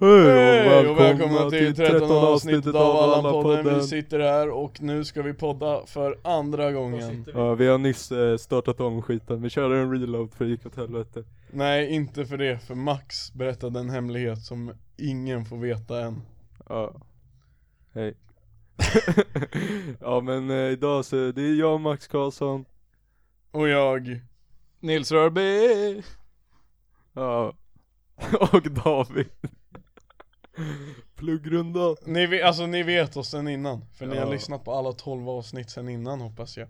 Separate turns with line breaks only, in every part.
Hej och välkomna till 13 avsnittet av Allan-podden. Vi sitter här och nu ska vi podda för andra gången.
Ja, vi har nyss eh, startat om skiten, vi körde en reload för det gick åt helvete.
Nej, inte för det, för Max berättade en hemlighet som ingen får veta än.
Ja, hej. ja men eh, idag så, det är jag Max Karlsson.
Och jag,
Nils Rörby!
Ja. och David. Pluggrunda.
ni, ve- alltså, ni vet oss sen innan, för ni har
Ja.
lyssnat på alla 12 avsnitt sen innan hoppas jag.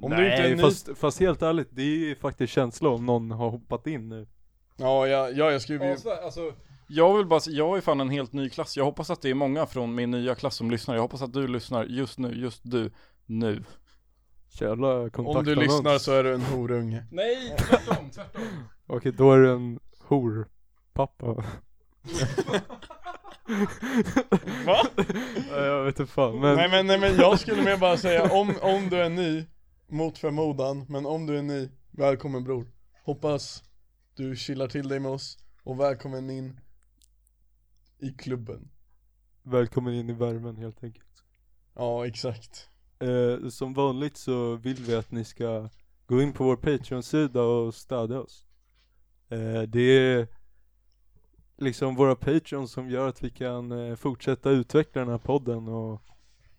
Om du inte är
Nej
ny-
fast, fast helt ärligt, det är ju faktiskt känsla om någon har hoppat in nu.
Ja, jag, ja, jag skriver ju,
Alltså, jag vill bara säga, jag är fan en helt ny klass. Jag hoppas att det är många från min nya klass som lyssnar. Jag hoppas att du lyssnar just nu, just du, nu.
Jävla kontakt
om du lyssnar så är du en horunge.
Nej, tvärtom, tvärtom.
Okej, då är du en horpappa.
Va?
Ja, jag vet inte fan men,
Nej men, nej men jag skulle mer bara säga, om, om du är ny, mot förmodan, men om du är ny, välkommen bror Hoppas du chillar till dig med oss, och välkommen in i klubben
välkommen in i värmen helt enkelt.
Ja exakt
Eh, som vanligt så vill vi att ni ska gå in på vår Patreon-sida och stödja oss. Eh, det är liksom våra Patreons som gör att vi kan eh, fortsätta utveckla den här podden och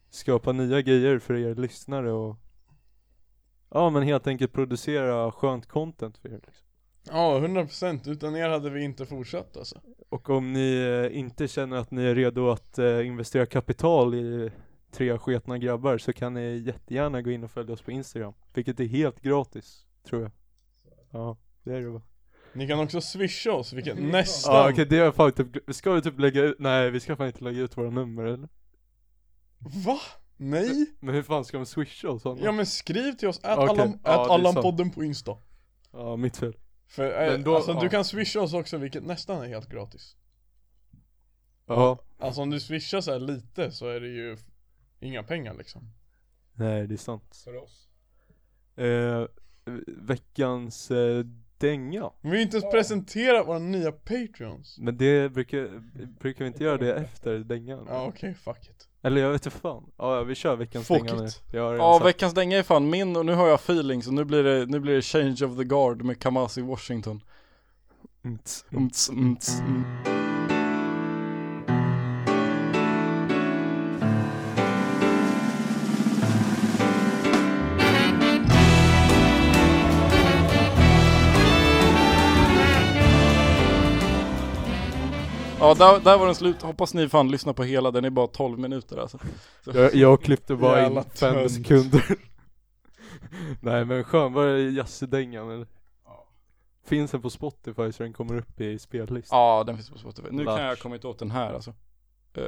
skapa nya grejer för er lyssnare och ja men helt enkelt producera skönt content för er. Liksom.
Ja 100% utan er hade vi inte fortsatt alltså
Och om ni eh, inte känner att ni är redo att eh, investera kapital i tre sketna grabbar så kan ni jättegärna gå in och följa oss på Instagram. Vilket är helt gratis, tror jag. Ja, det är det va?
Ni kan också swisha oss, vilket nästan
Ja okej, det har jag fan typ, ska vi typ lägga ut, nej vi ska fan inte lägga ut våra nummer eller?
Va? Nej?
Men hur fan ska de swisha och sånt?
Ja men skriv till oss, ät
Okej.
Allan- ät
Ja, det är
Allan-podden på Insta
ja mitt fel.
För eh,
Men då-
alltså, du
ja.
kan swisha oss också vilket nästan är helt gratis
Ja.
Alltså om du swishar så här lite så är det ju f- inga pengar liksom
Nej det är sant.
För oss
Eh, veckans eh, dänga.
Men vi har inte ens presenterat våra nya Patreons
Men det brukar, brukar vi inte göra det efter dängan?
Ja okej, fuck it
Eller jag vet inte fan. Ja, ja, vi kör veckans
Fuck
dänga nu.
it.
Jag har redan
Ja,
sagt-
veckans dänga är fan min och nu har jag feeling så nu blir det, nu blir det change of the guard med Kamasi Washington.
Mts.
Umts, umts, mm. Ja, där, där var den slut. Hoppas ni fan lyssnar på hela, den är bara 12 minuter alltså.
Jag, jag klippte bara
Jävla
in fem
tönt.
sekunder. Nej men skön, var det jazzidängan eller? Finns den på Spotify så den kommer upp i spellistan?
Ja, den finns på Spotify. Nu kan
Vart?
jag ha kommit åt den här alltså. Eh,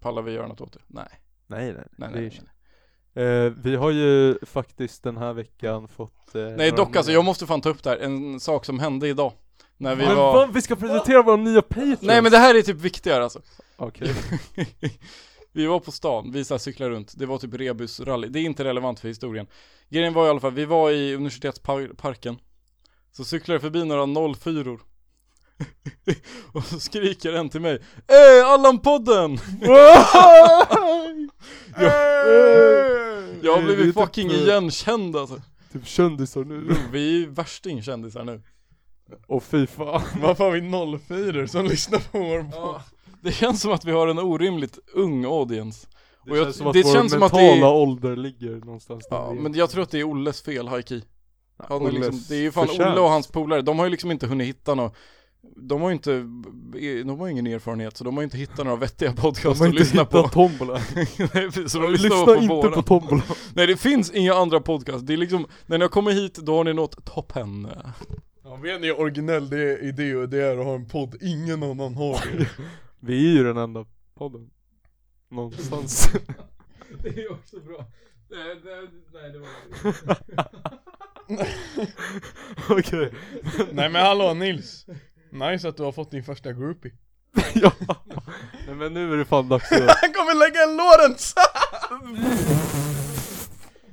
pallar vi göra något åt det? Nej,
Nej nej,
nej,
det
nej.
är
nej.
ju- Eh, Vi har ju faktiskt den här veckan fått eh,
Nej
några
dock alltså,
nya-
jag måste fan ta upp det här, en sak som hände idag. När vi
Men
var...
fan, vi ska presentera våra nya Patreons!
Nej men det här är typ viktigare alltså.
Okej,
vi var på stan, vi så här cyklade runt, det var typ rebusrally, det är inte relevant för historien. Grejen var i alla fall, vi var i universitetsparken, så cyklade jag förbi några 04 Och så skriker en till mig, Ey Allan-podden! Jag har blivit
Det är typ,
fucking
eh,
igenkänd alltså.
typ kändisar nu.
Vi är ju värstingkändisar nu.
Och fy fan.
Varför har vi 04 som lyssnar på vår podd?
Det känns som att vi har en orimligt ung audience.
Det
Och jag-
känns som att
det
vår
känns som att det
mentala
är-
ålder ligger någonstans
Ja,
vi är.
men jag tror att det är Olles fel, Haiki. Han har
Olles
liksom, det är ju fan
förtjänst.
Olle och hans polare, de har ju liksom inte hunnit hitta något de har ju inte, de har ju ingen erfarenhet så de har ju inte hittat några vettiga podcasts att lyssna på.
tombola.
Nej, precis, så de lyssnar
Lyssna
på
inte
våra.
på tombola.
Nej det finns inga andra podcasts, det är liksom, när jag kommer hit då har ni nått toppen.
Ja vet ni originell det är idé och det är att ha en podd ingen annan har det
Vi är ju den enda podden. Någonstans.
Det är också bra. Nej, nej, det var
Okej.
Nej men hallå Nils Nice att du har fått din första groupie
ja. Nej men nu är det fan dags att...
Han kommer lägga en Lorentz!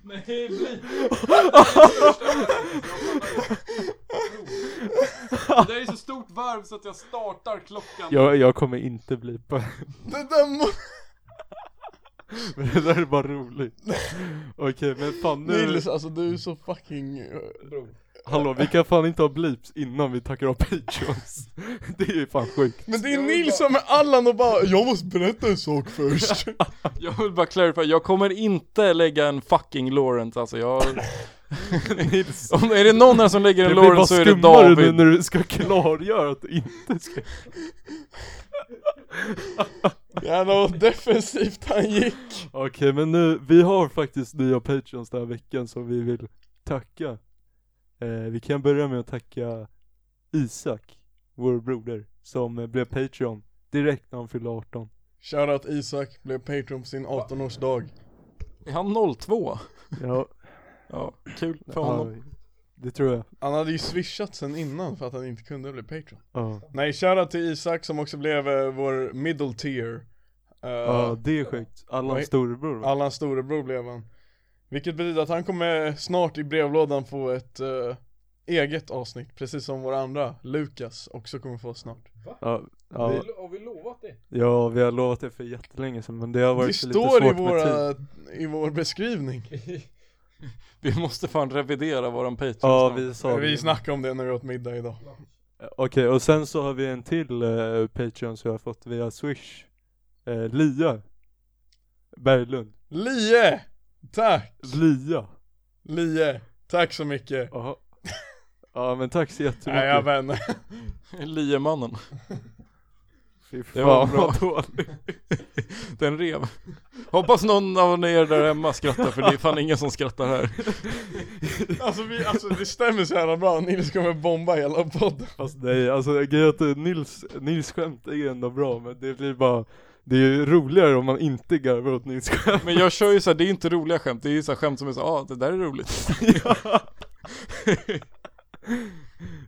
Nej, bli. Det där är så stort varv så att jag startar klockan.
Jag, jag kommer inte bli på
Det där må...
men det där är bara roligt. Okej men fan nu,
liksom-
Nils alltså du är så fucking... eh,
hallå vi kan fan inte ha bleeps innan vi tackar av patreons. Det är ju fan sjukt.
Men det är Nils som är Allan och bara 'Jag måste berätta en sak först'
Jag vill bara clarify, jag kommer inte lägga en fucking Lawrence alltså jag...
Nils,
Om, är det någon här som lägger
det
en
blir bara
Lawrence så är det
skummare nu
David.
när du ska klargöra att du inte ska.
Jävlar vad defensivt han gick
Okej men nu, vi har faktiskt nya patreons den här veckan som vi vill tacka. Eh, vi kan börja med att tacka Isak, vår broder, som eh, blev patreon direkt när han fyllde 18.
Shoutout Isak blev Patreon på sin 18-årsdag
Är han 02?
Ja,
Ja, kul för honom.
det tror jag.
Han hade ju swishat sen innan för att han inte kunde bli Patreon
Ja,
Nej shoutout till Isak som också blev eh, vår middle tier Eh,
ja det är sjukt. Allans
Nej.
storebror va?
Allans storebror blev han Vilket betyder att han kommer snart i brevlådan få ett eh, eget avsnitt Precis som vår andra, Lukas, också kommer få snart
Ja, ja,
Har vi lovat det?
ja, vi har lovat det för jättelänge sedan men det har
Det
varit lite svårt
står i,
med tid.
våra, i vår beskrivning
Vi måste fan revidera våran Patreon
Ja,
snart.
vi sa
Vi
det.
snackade om det när vi åt middag idag
Eh, Okej, och sen så har vi en till eh, Patreon som jag har fått via Swish. Eh, Lia. Berglund.
Lie! Tack!
Lia.
Lie! Tack så mycket!
Jaha. Ja men tack så jättemycket.
Nej jag vänner
Liemannen.
Fy
Det var
fan
bra
vad
dålig. Den rev. Hoppas någon av er där hemma skrattar för det är fan ingen som skrattar här.
Alltså, vi, alltså det stämmer så jävla bra, Nils kommer bomba hela podden
Fast nej, alltså grejen är att eh, Nils, Nils skämt är ändå bra men det blir bara, det är ju roligare om man inte garvar åt Nils skämt.
Men jag kör ju såhär, det är inte roliga skämt, det är ju såhär skämt som är såhär, ah, det där är roligt.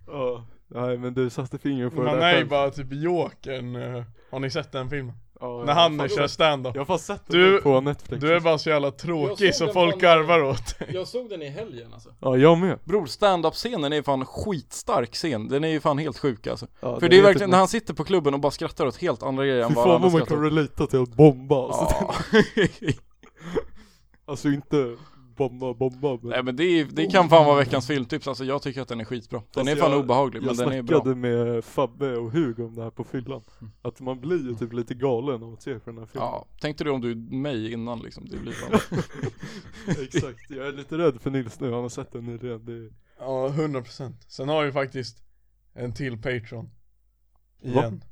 Ja, nej men du satte fingret på
Man
det
är ju
själv.
bara typ jokern, eh, har ni sett den filmen?
Ja,
När
jag-
han kör stand-up
Jag har fast sett
Du-
det på Netflix.
Du är bara så jävla
Jag såg
tråkig så
den
folk
på-
garvar åt dig.
Jag såg den i helgen alltså.
Ja jag med.
Bror, stand-up-scenen är fan skitstark scen, den är ju fan helt sjuk alltså.
Ja, typ-
För
den
det är
helt
verkligen, när
unik.
han sitter på klubben och bara skrattar åt helt andra grejer än
Fy
vad
fan
andra
vad man
skrattar
kan
åt.
relata till att bomba alltså.
Ja.
Alltså inte bomba, bomba men
Nej men det, är, det kan fan vara veckans filmtips, alltså jag tycker att den är skitbra. Den
Alltså,
är fan
jag-
obehaglig men
jag
den är bra. Mm.
snackade med Fabbe och Hugo om det här på fyllan. Att man blir ju typ lite galen av att se på den här filmen.
Ja, tänkte du om du är mig innan liksom, det blir fan...
Exakt, jag är lite rädd för Nils nu, han har sett den nyligen. Det är...
Ja, 100% Sen har vi faktiskt en till Patreon Igen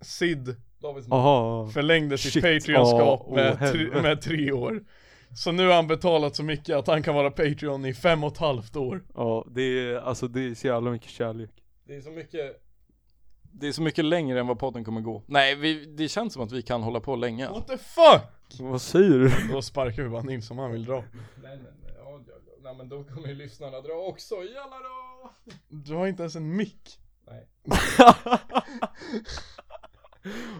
Sid
Davids man.
Aha.
förlängde
Shit.
sitt Patreon-skap
Ja, åh,
med,
helvete.
tre, med tre år Så nu har han betalat så mycket att han kan vara Patreon i fem och ett halvt år
Ja, det är, alltså det är så jävla mycket kärlek.
Det är så mycket...
Det är så mycket längre än vad podden kommer gå. Nej, vi, det känns som att vi kan hålla på länge.
What the fuck!
Vad säger du?
Då sparkar vi bara Nils om han vill dra
Nej, nej, nej, ja, ja, ja. nej men då kommer ju lyssnarna dra också. Jalla då!
Du har inte ens en mick
Nej.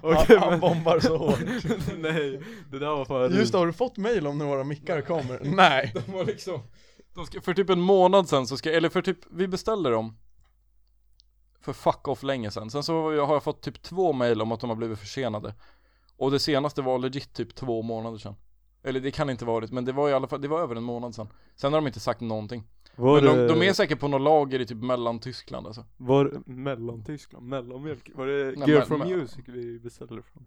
Okej,
han, han bombar så hårt
men... Nej, det där var fan
Just det, har du fått mail om när våra mickar kommer? Nej!
De var liksom...
De ska, för typ en månad sen så ska, eller för typ, vi beställde dem för fuck off länge sen. Sen så har jag- har jag fått typ två mail om att de har blivit försenade. Och det senaste var legit typ två månader sen. Eller det kan inte varit, men det var i alla fall, det var över en månad sen. Sen har de inte sagt någonting.
Var,
men de,
det-
de är säkert på något lager i typ mellantyskland alltså.
var det Mellantyskland, mellanmjölk? Var det
Nej,
Gear
men-
from
men-
Music vi beställde från?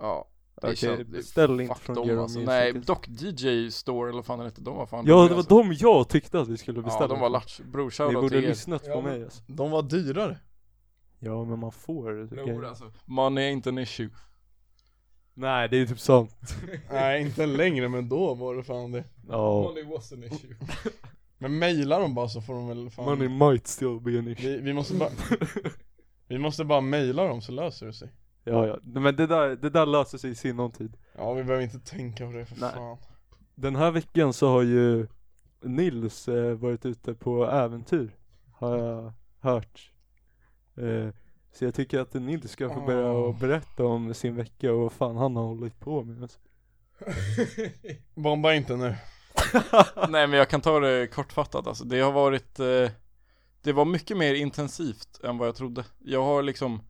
Ja. det
Okej,
känns- det är
beställ inte
fuck
från
dem,
Gear
alltså.
Music.
Nej, dock DJ Store eller vad fan det hette, de var fan
Ja,
roliga,
det var
alltså.
de jag tyckte att vi skulle beställa.
Ja, de var
från.
latch. Bror,
Ni
shoutout
borde
till er.
lyssnat
Ja,
på
men-
mig alltså.
De var dyrare
Ja men man får
Bror alltså.
Man är inte en issue.
Nej det är typ sant.
Nej inte längre men då var det fan det
Ja.
Money was an issue.
Men mailar de bara så får de väl fan
Money might still be an issue.
Vi, vi måste bara Vi måste bara mejla dem så löser det sig
Ja ja. Men det där, det där löser sig i sinom tid.
Ja vi behöver inte tänka på det för
Nej.
fan
Den här veckan så har ju Nils eh, varit ute på äventyr. Har jag hört. Eh, så jag tycker att Nils ska få börja
Ah.
Åh.
och berätta om sin vecka och vad fan han har hållit på med. Alltså.
Bomba inte nu
Nej men jag kan ta det kortfattat alltså. Det har varit eh, Det var mycket mer intensivt än vad jag trodde. Jag har liksom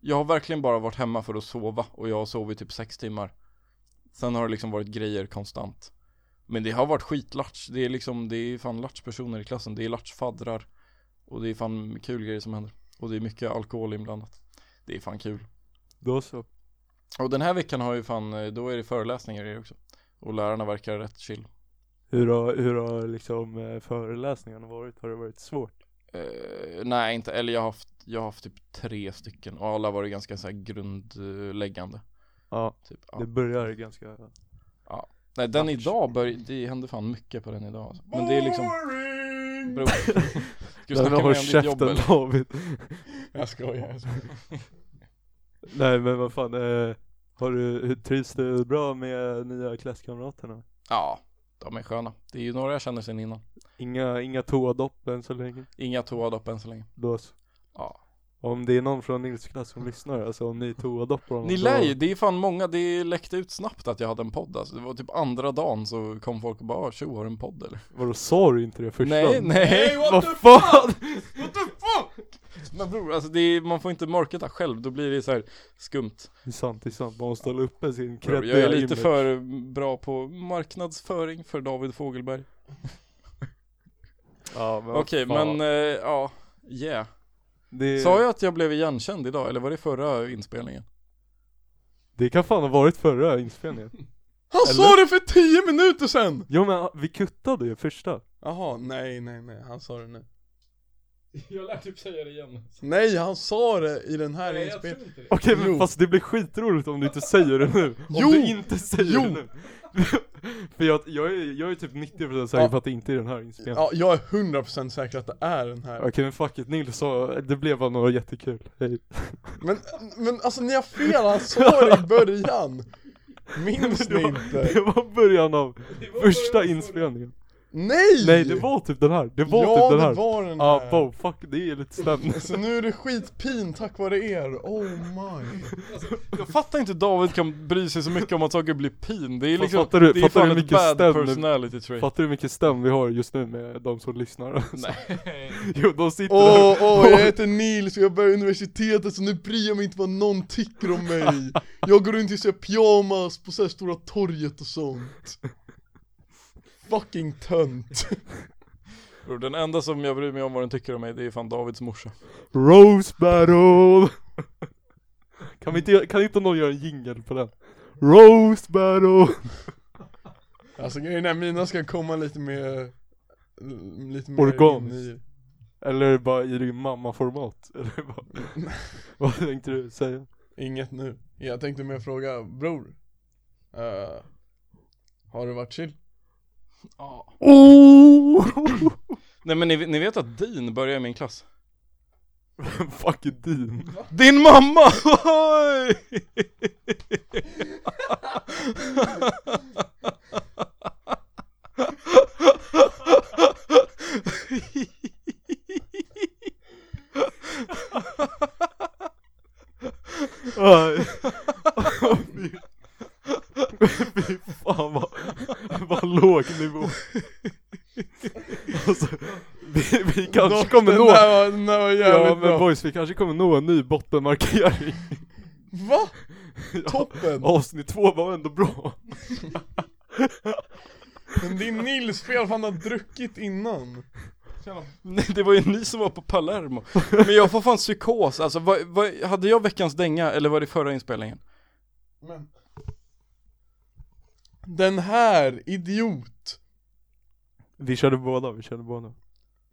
Jag har verkligen bara varit hemma för att sova och jag har sovit typ sex timmar. Sen har det liksom varit grejer konstant. Men det har varit skitlatch. Det är liksom, det är fan latchpersoner i klassen. Det är latchfaddrar. Och det är fan kul grejer som händer. Och det är mycket alkohol inblandat. Det är fan kul.
Då så.
Och den här veckan har ju fan, eh, då är det föreläsningar i det också. Och lärarna verkar rätt chill.
Hur har, hur har liksom eh, föreläsningarna varit? Har det varit svårt?
Eh, nej inte, eller jag har haft, jag har haft typ tre stycken och alla har varit ganska så här grundläggande.
Ja,
Typ, ja.
det börjar ganska...
Nej den idag börj- det hände fan mycket på den idag alltså. Men det är liksom,
Boring!
bror. Ska vi
Nej, men
snacka mer om
håll
ditt jobb
käften
eller?
David.
Jag skojar, jag skojar.
Nej men vad fan, eh, har du, hur trivs du bra med nya klasskamraterna?
Ja, de är sköna. Det är ju några jag känner sen innan.
Inga, inga toadopp än så länge?
Inga toadopp än så länge.
Då så.
Ja.
Om det är någon från Nils klass som lyssnar, alltså om ni toadoppar honom
Ni
då-
lär ju, det är fan många, det läckte ut snabbt att jag hade en podd alltså. Det var typ andra dagen så kom folk och bara "Ah, tjo har du en podd eller?
Vadå sa du inte det första?
Nej, nej!
Hey, what
Vad
the
fan!
What the fuck?
Men bror, alltså det är, man får inte mörketa själv, då blir det så här skumt.
Det är sant, det är sant. Man måste hålla uppe sin
Bro,
kreddiga
jag är lite
image.
för bra på marknadsföring för David Fogelberg.
Ja, men vad
Okej,
fan.
men eh, ja, yeah.
Det,
Sa jag att jag blev igenkänd idag, eller var det förra inspelningen?
det kan fan ha varit förra inspelningen.
Han sa det för tio minuter sedan!
Jo men vi kuttade ju första.
Jaha, nej nej nej, han sa det nu
Jag lär typ säga det igen.
Nej, han sa det i den här
Nej, jag tror
inspelningen
inte det.
Okej
Jo.
men fast det blir skitroligt om du inte säger det nu. Om
Jo!
du inte säger
Jo!
det nu. för jag, jag, är, jag är typ 90% säker
Ja.
på att det inte är den här inspelningen.
Ja, jag är 100% säker att det är den här
Okej men fuck it, Nils sa, det blev bara något jättekul. Hej.
Men, men alltså ni har fel, han sa det i början! Minns
Det
ni
var,
inte?
det var början av
Det var
första
början av-
inspelningen.
Nej!
Nej det var typ den här, det var typ
ja,
den här.
det var den
Ja,
här!
wow, fuck det är lite stämning.
Så nu är det skitpin tack vare er, oh my
Jag fattar inte David kan bry sig så mycket om att saker blir pin. Det är
Fast
liksom,
fattar du-
det är
fattar du hur
fan ett
mycket
bad
stämning-
personality trait.
Fattar du hur mycket stäm vi har just nu med de som lyssnar?
Nej.
Jo, de sitter
Åh,
där.
åh, jag heter Nils och jag börjar universitetet så nu bryr jag mig inte vad någon tycker om mig Jag går runt i så här pyjamas på så här Stora torget och sånt Fucking tönt
Bror, den enda som jag bryr mig om vad den tycker om mig, det är fan Davids morsa.
Rose battle! Kan, vi inte, kan inte någon göra en jingle på den? Rose battle!
Alltså grejen är, mina ska komma lite mer Lite mer
Organiskt.
in i-
Eller bara i din mamma-format? Eller vad, vad tänkte du säga?
Inget nu Jag tänkte mer fråga, bror eh, Har du varit chill?
Oh!
Nej men ni, ni vet att Dean börjar i min klass?
Fuck it, din.
Din mamma! Oj!
Aj. Fy- Fy fan vad, vad låg nivå. Alltså, vi, vi kanske kommer nå...
Den där var, den där var
Ja
jävligt
men
bra
boys, vi kanske kommer nå en ny bottenmarkering.
Va? Toppen!
Avsnitt två var ändå bra.
Men det är Nils fel för han har druckit innan
Nej, det var ju ni som var på Palermo. Men jag får fan psykos, alltså vad, vad, hade jag veckans dänga eller var det förra inspelningen?
Men Den här idiot
Vi körde båda, vi körde båda.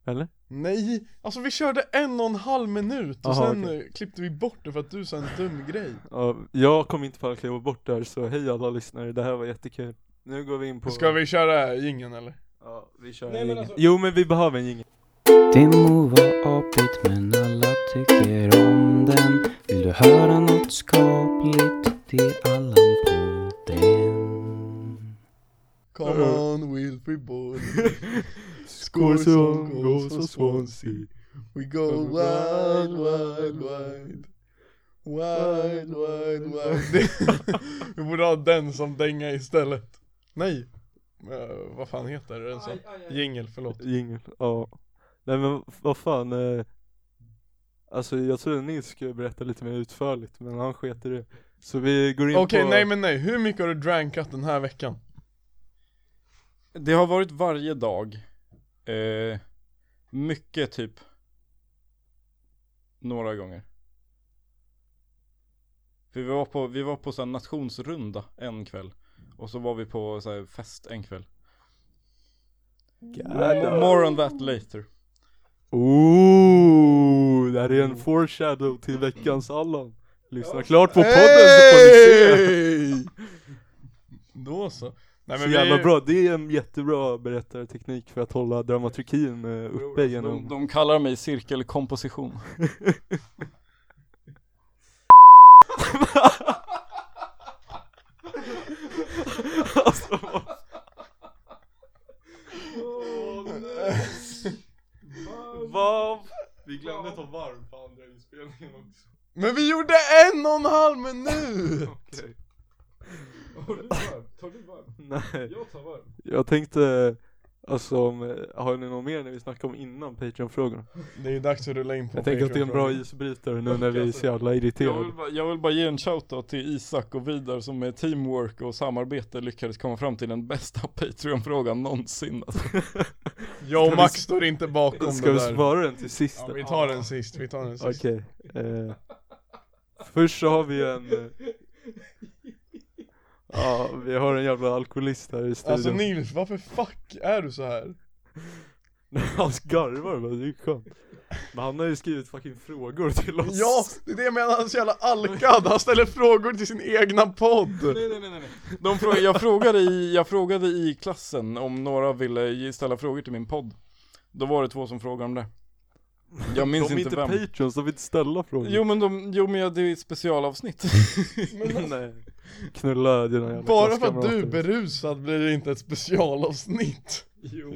Eller?
Nej, alltså vi körde en och en halv minut och
Aha,
sen
okej.
eh, klippte vi bort det för att du sa en dum grej
Ja, jag kommer inte falla kliva bort där så hej alla lyssnare, det här var jättekul. Nu går vi in på...
Ska vi köra jingeln eller?
Ja, vi kör
Nej,
en
men
jingel.
alltså-
Jo men vi behöver en jingel.
Det må vara apigt men alla tycker om den Vill du höra något skapligt? Det är Allan på den
Come
Mm.
on Wilfrid boy
Skål
som
som
gås
går
och
så Swansea.
We go wide, wide, wide Wide, wide, wide Det- Vi borde ha den som dänga istället Nej, Eh, vad fan heter den som?
Aj, aj, aj.
Jingel, förlåt
Jingel, ja. Nej men vad fan. Eh, alltså jag trodde Nils skulle berätta lite mer utförligt men han sket i det. Så vi går in
Okej,
på.
nej men nej. Hur mycket har du drankat den här veckan?
Det har varit varje dag. Eh, mycket typ. Några gånger. För vi var på, vi var på så här nationsrunda en kväll. Och så var vi på så här fest en kväll.
Gadda.
More on that later.
Ooh, det här är en foreshadow till veckans Allan. Lyssna klart på podden så får ni se.
Hey! Då så. Nej,
Så jävla bra, det är en jättebra berättarteknik för att hålla dramaturgin eh, uppe
De,
genom
alltså, de kallar mig cirkelkomposition.
Varv! Vi glömde ta varv på andra inspelningen också
Men vi gjorde en och en halv minut!
Okej
Har du varm? Tar du varm?
Nej,
Jag tar varm.
jag tänkte, alltså om, eh, har ni något mer när vi snackar om innan Patreon-frågorna?
Det är dags att rulla in på
Jag tänker att det är en bra
Patreon-frågan.
isbrytare nu när vi är så jävla
Jag
irriterade
vill, bara, jag vill bara ge en shoutout till Isak och Vidar som med teamwork och samarbete lyckades komma fram till den bästa Patreon-frågan någonsin alltså.
Jag
Ska
och
vi-
Max står inte bakom
Ska
det
vi
där.
spara den till sist?
Ja, vi tar den sist, vi tar den sist.
Okej, eh, först så har vi en eh, Ja, vi har en jävla alkoholist här i studion
Alltså Nils, varför fuck är du så här?
Han garvar bara, det är ju skönt Men han har ju skrivit fucking frågor till oss
Ja, det är det jag menar, han är så jävla alkad, han ställer frågor till sin egna podd!
Nej nej nej nej De fråga, jag, frågade i, jag frågade i klassen om några ville ge- ställa frågor till min podd Då var det två som frågade om det Jag minns
De är
inte
inte
vem
patreons, de vill inte ställa frågor
Jo men de, jo men jag- det är ett specialavsnitt alltså,
Nej Knulla dina jävla
Bara för att du är
klasskamrater.
berusad blir det inte ett specialavsnitt.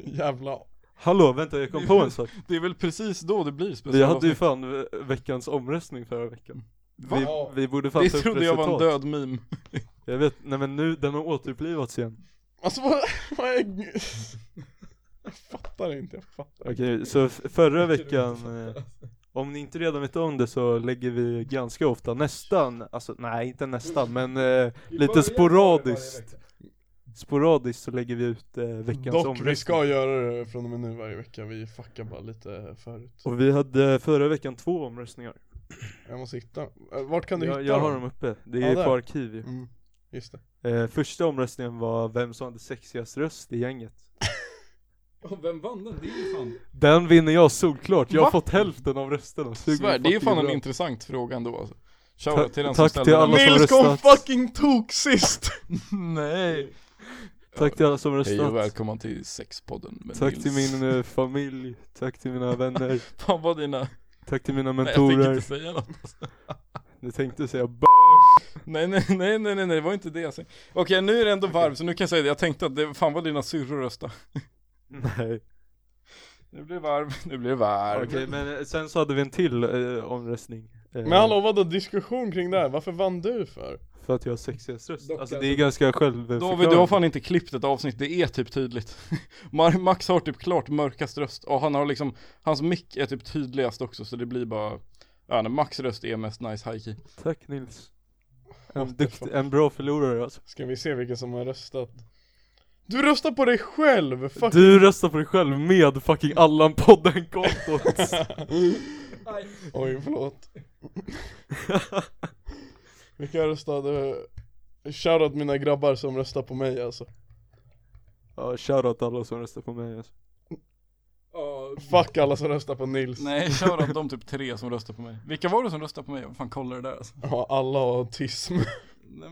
Jävla...
Hallå, vänta jag kom på en sak
Det är väl precis då det blir
Vi hade ju
specialavsnitt
fan ve- veckans omröstning förra veckan vi,
Va?
vi borde fan
Det
ta upp
trodde jag var en
resultat.
död meme
Jag vet, nej men nu, den har återupplivats igen
Alltså vad, vad är... Jag fattar inte, jag fattar
Okej, så f- förra veckan eh, Om ni inte redan vet om det så lägger vi ganska ofta, nästan, alltså nej inte nästan men eh,
I
Lite
början var det
sporadiskt.
varje vecka.
sporadiskt så lägger vi ut eh, veckans
Dock,
omröstning
vi ska göra det från och med nu varje vecka, vi fuckar bara lite förut
Och vi hade förra veckan två omröstningar
Jag måste hitta, Eh, vart kan du
jag,
hitta
jag har dem uppe, det
Ja,
är
där.
på arkiv ju.
Mm, just det
eh, Första omröstningen var vem som hade sexigast röst i gänget
Och vem vann den? Det är ju fan.
Den vinner jag solklart, jag har
Va?
fått hälften av rösterna Suger
Svär, det är ju
fucking
fan en
bra.
intressant fråga ändå alltså.
Ta-
Shoutout till den som
tack
ställde
till
den.
alla som
Nils kom
röstat.
fucking tok sist!
Nej!
Tack till alla som
Hej och
röstat
välkomna till sexpodden med
Tack
Nils.
till min eh, familj, tack till mina vänner,
Fan vad dina...
tack till mina
Nej jag tänker
mentorer
inte säga något.
Nu tänkte jag säga b-
Nej nej nej nej nej, nej det var inte det jag sa. Okej nu är det ändå varv så nu kan jag säga det. Jag tänkte att det, fan vad dina syrror rösta.
Nej
Nu blir det varv, nu blir det varv.
Okej men eh, sen så hade vi en till eh, omröstning eh,
Men hallå vadå diskussion kring det här, varför vann du för?
För att jag har sexigast röst,
Dock,
alltså det
alltså-
är ganska självförklarande
David du har fan inte klippt ett avsnitt, det är typ tydligt. Mar- Max har typ klart mörkast röst och han har liksom, hans mick är typ tydligast också så det blir bara, ja nej, Max röst är mest nice high key.
Tack Nils en,
What the
dukt,
fuck?
en bra förlorare alltså
Ska vi se vilka som har röstat? Du röstar på dig själv! Fuck!
Du röstar på dig själv med fucking Allan-podden-kontot
Nej.
Oj förlåt Vilka röstade? Shoutout mina grabbar som röstar på mig alltså
Ja shoutout alla som röstar på mig alltså.
Ja,
Fuck alla som röstar på Nils
Nej, kör av de typ tre som röstar på mig. Vilka var det som röstade på mig? Vad fan kollar det där alltså?
Ja, alla har autism
Nej, men,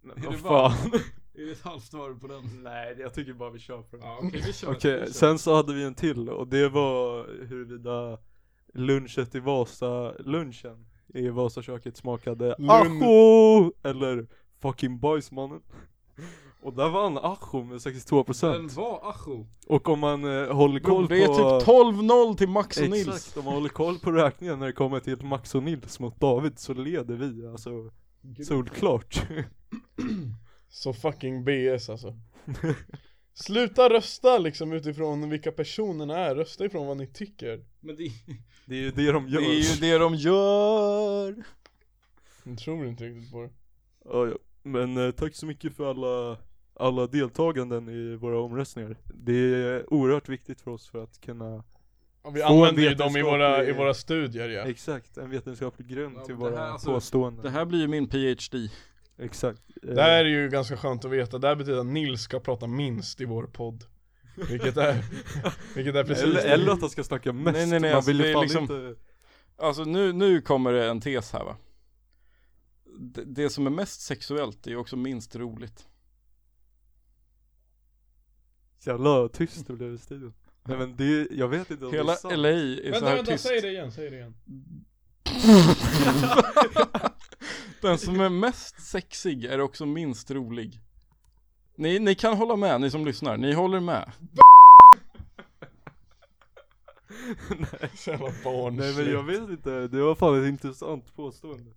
Men
är, det
vad
bara,
fan
är det ett halvt varv på den?
Nej jag tycker bara vi kör på det
ja, okej vi kör. vi
Okej,
kör.
sen så hade vi en till och det var huruvida lunchet i Vasa, lunchen i Vasaköket smakade
Lun-
ajo eller fucking bajs mannen. Och där vann ajo med 62%
Den var Acho.
och om man eh, håller koll
det är
på
typ 12-0 till Max och Nils.
Exakt, om man håller koll på räkningen när det kommer till Max och Nils mot David så leder vi alltså solklart.
Så fucking BS alltså Sluta rösta liksom utifrån vilka personerna är, rösta ifrån vad ni tycker
Men det,
Det är ju det de
det
gör.
är ju det de gör!
Jag tror inte riktigt på det
Ja, ja. Men eh, tack så mycket för alla, alla deltaganden i våra omröstningar. Det är oerhört viktigt för oss för att kunna,
ja, Vi
Få
använder
en
ju dem i våra, i
vetenskaplig-
våra studier ja
exakt, en vetenskaplig grund
Ja,
till
men det
våra
här, alltså,
påståenden.
Det här blir ju min PhD
Exakt. Eh,
Det här är ju ganska skönt att veta, det här betyder att Nils ska prata minst i vår podd Vilket är, vilket är precis
eller, eller att han ska snacka mest.
Nej, nej, nej,
Man
alltså,
vill ju
det är
fan
liksom-
inte...
Alltså nu, nu kommer det en tes här va det, det som är mest sexuellt är ju också minst roligt
Jävla tyst det blev i studion. Nej men det, jag vet inte om det
Hela
är sant.
LA är så
Vänta
här
vänta,
tyst
säg det igen, säg det igen
Den som är mest sexig är också minst rolig ni, ni kan hålla med, ni som lyssnar, ni håller med
Så jävla barnsligt
Nej men jag vet inte, det var fan ett intressant påstående.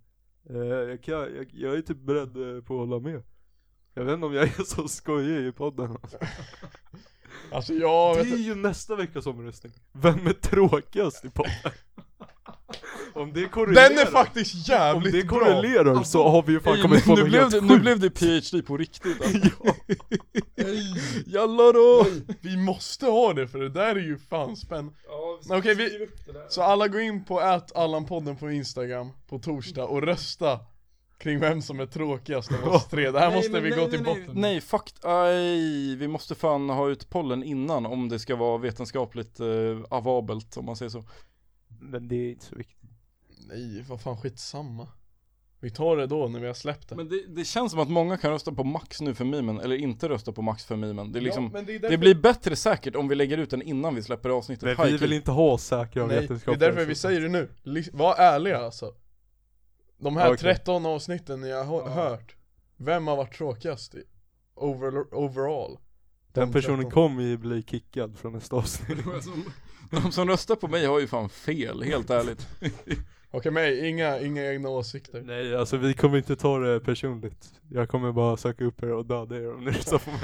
Eh, jag, kan, jag, jag är typ beredd eh, på att hålla med. Jag vet inte om jag är så skojig i podden.
Alltså jag
Det
vet
är ju nästa veckas omröstning. Vem är tråkigast i podden? Om det korrelerar.
Den är faktiskt
Om
jävligt
det
bra!
korrelerar så har vi ju fan
Ej,
kommit på
nu,
något
blev
helt
Alltså, det,
sjukt.
nu blev det PhD på riktigt alltså. Jalla då!
Vi måste ha det för det där är ju fan spännande
Ja, vi
Men okej, vi-
skriva upp det där.
Så alla gå in på allanpodden på instagram på torsdag och rösta kring vem som är tråkigast av oss tre, det här
Nej,
måste
men
vi
nej,
gå
nej,
till
nej.
botten med.
Nej, fuck, aj, vi måste fan ha ut pollen innan om det ska vara vetenskapligt eh, avabelt om man säger så
Men det är inte så viktigt.
Nej, vad fan skitsamma. Vi tar det då när vi har släppt det.
Men det, det känns som att många kan rösta på Max nu för mimen, eller inte rösta på Max för mimen Det är liksom,
men är
det blir bättre säkert om vi lägger ut den innan vi släpper avsnittet
Men vi
High
vill
key.
inte ha säkra
Nej, det är
vetenskapliga
därför vi
resultat.
säger det nu. Lis- Var ärliga alltså. De här
Okej.
13 avsnitten ni har hö-
Ja.
hört, vem har varit tråkigast i, over, overall?
Den
De
personen
13.
kommer ju bli kickad från nästa avsnitt.
De som- De som röstar på mig har ju fan fel, helt ärligt
Okej men inga, inga egna åsikter.
Nej alltså vi kommer inte ta det personligt. Jag kommer bara söka upp er och döda er om ni röstar på mig.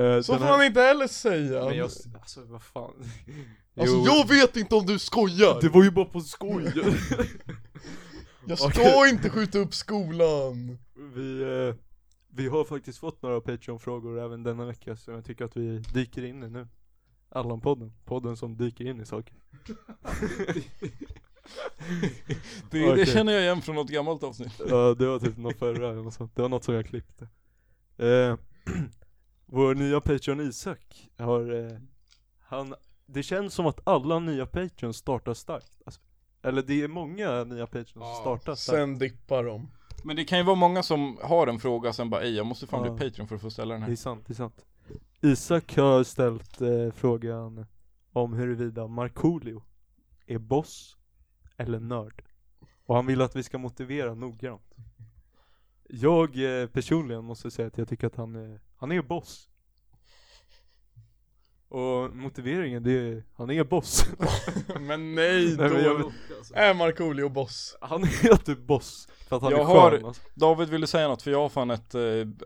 Eh,
Så
den
får
här-
man inte heller säga.
Men jag, alltså vad fan.
Alltså jag vet inte om du skojar!
Det var ju bara på skoj.
Jag ska
Okej.
inte skjuta upp skolan!
vi, eh, vi har faktiskt fått några Patreon-frågor även denna vecka så jag tycker att vi dyker in i nu. Allan-podden, podden som dyker in i saker.
Det,
Okej.
det känner jag igen från något gammalt avsnitt
Ja det var typ något förra eller något sånt. Det var något som jag klippte. Eh, vår nya Patreon Isak har, eh, han, det känns som att alla nya Patreons startar starkt. Alltså, eller det är många nya Patreons som
Ja,
startar starkt.
Sen dippar de.
Men det kan ju vara många som har en fråga och sen bara ej jag måste fan
Ja.
bli Patreon för att få ställa den
Det är
här
sant, det är sant. Isak har ställt eh, frågan om huruvida Markoolio är boss eller nörd. Och han vill att vi ska motivera noggrant. Jag eh, personligen måste säga att jag tycker att han är, han är boss. Och motiveringen det är, han är boss.
men nej
Nej, men jag
då! Är Markoolio boss?
Han är typ boss. För att han
Jag
är
har-
skön alltså.
David ville säga något för jag har fan ett, eh,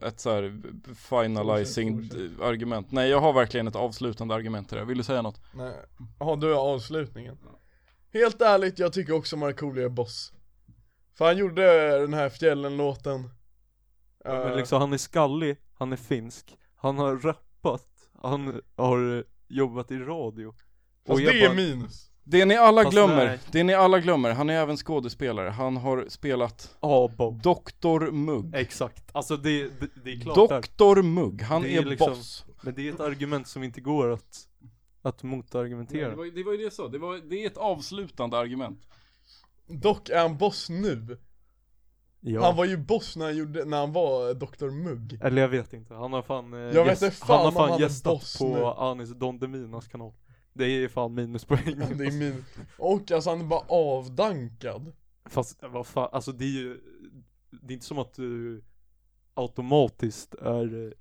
ett så här finalizing eh, argument Nej jag har verkligen ett avslutande argument till det här. vill du säga något?
Nej, jaha du är avslutningen Helt ärligt, jag tycker också Markoolio är boss För han gjorde den här fjällen-låten
Ja,
Eh,
Men liksom han är skallig, han är finsk, han har rappat, han har eh, jobbat i radio.
Fast
jag
det är
bara-
minus
Det ni alla
Fast
glömmer,
nej.
det ni alla glömmer, han är även skådespelare Han har spelat
Ja "Ah, Bob.
Dr Mugg
Exakt. Alltså det, det, det är klart där.
Dr Mugg, han
Det
är,
är liksom-
boss
Men det är ett argument som inte går att, att
det,
motargumentera.
var, det var ju det jag sa, det, var, det är ett avslutande argument
Dock är han boss nu
Ja.
Han var ju boss när han, gjorde, när han var Dr Mugg
Eller jag vet inte, han har fan, eh,
Jag vet
gäst-
inte fan
han har
om
fan
han är
gästat
boss
på
nu.
Anis Don Deminas kanal. Det är fan minuspoäng.
Ja, Det är min Och alltså han är bara avdankad
Fast vad fan, alltså det är ju, det är inte som att du automatiskt är eh,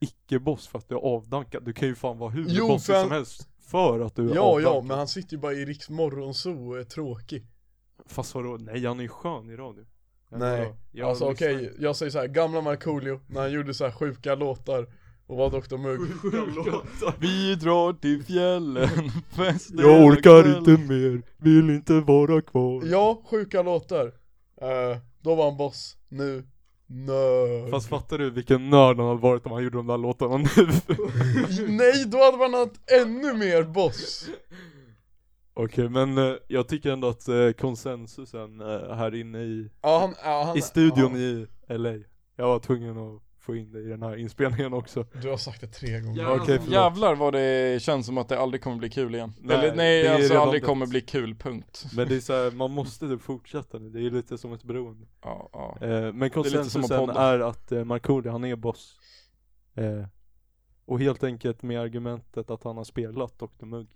icke-boss för att du är avdankad. Du kan ju fan vara hur
Jo,
bossig
för
som
han-
helst för att du är
Ja
avdankad.
ja, men han sitter ju bara i Riks Morgonzoo och är tråkig
Fast vadå, nej han är ju skön i radio.
Nej,
vadå? Jag
alltså
lyssnar
okej,
ju.
jag säger så här, gamla Markoolio, när han gjorde så här sjuka låtar och vara Dr Mugg
Vi drar till fjällen, fester
Jag orkar inte mer, vill inte vara kvar
Ja, sjuka låtar Eh, Då var han boss, nu nörd
Fast fattar du vilken nörd han hade varit om han gjorde de där låtarna nu?
Nej, då hade man haft ännu mer boss
Okej men eh, jag tycker ändå att eh, konsensusen eh, här inne i,
Ja han, ja, han
i studion
Alltså, ja,
i LA Jag var tvungen att få in det i den här inspelningen också
Du har sagt det tre gånger
Okej förlåt
Jävlar vad det känns som att det aldrig kommer bli kul igen.
Nej,
Nej, Eller, nej
det är
alltså
redan
aldrig
dött.
kommer bli kul, punkt.
Men det är så här, man måste typ fortsätta nu, det är lite som ett beroende
Ja, ja.
eh, Men
lite som att
konsensusen
podda.
är att eh, Markoolio, han är boss eh, Och helt enkelt med argumentet att han har spelat Dr Mugg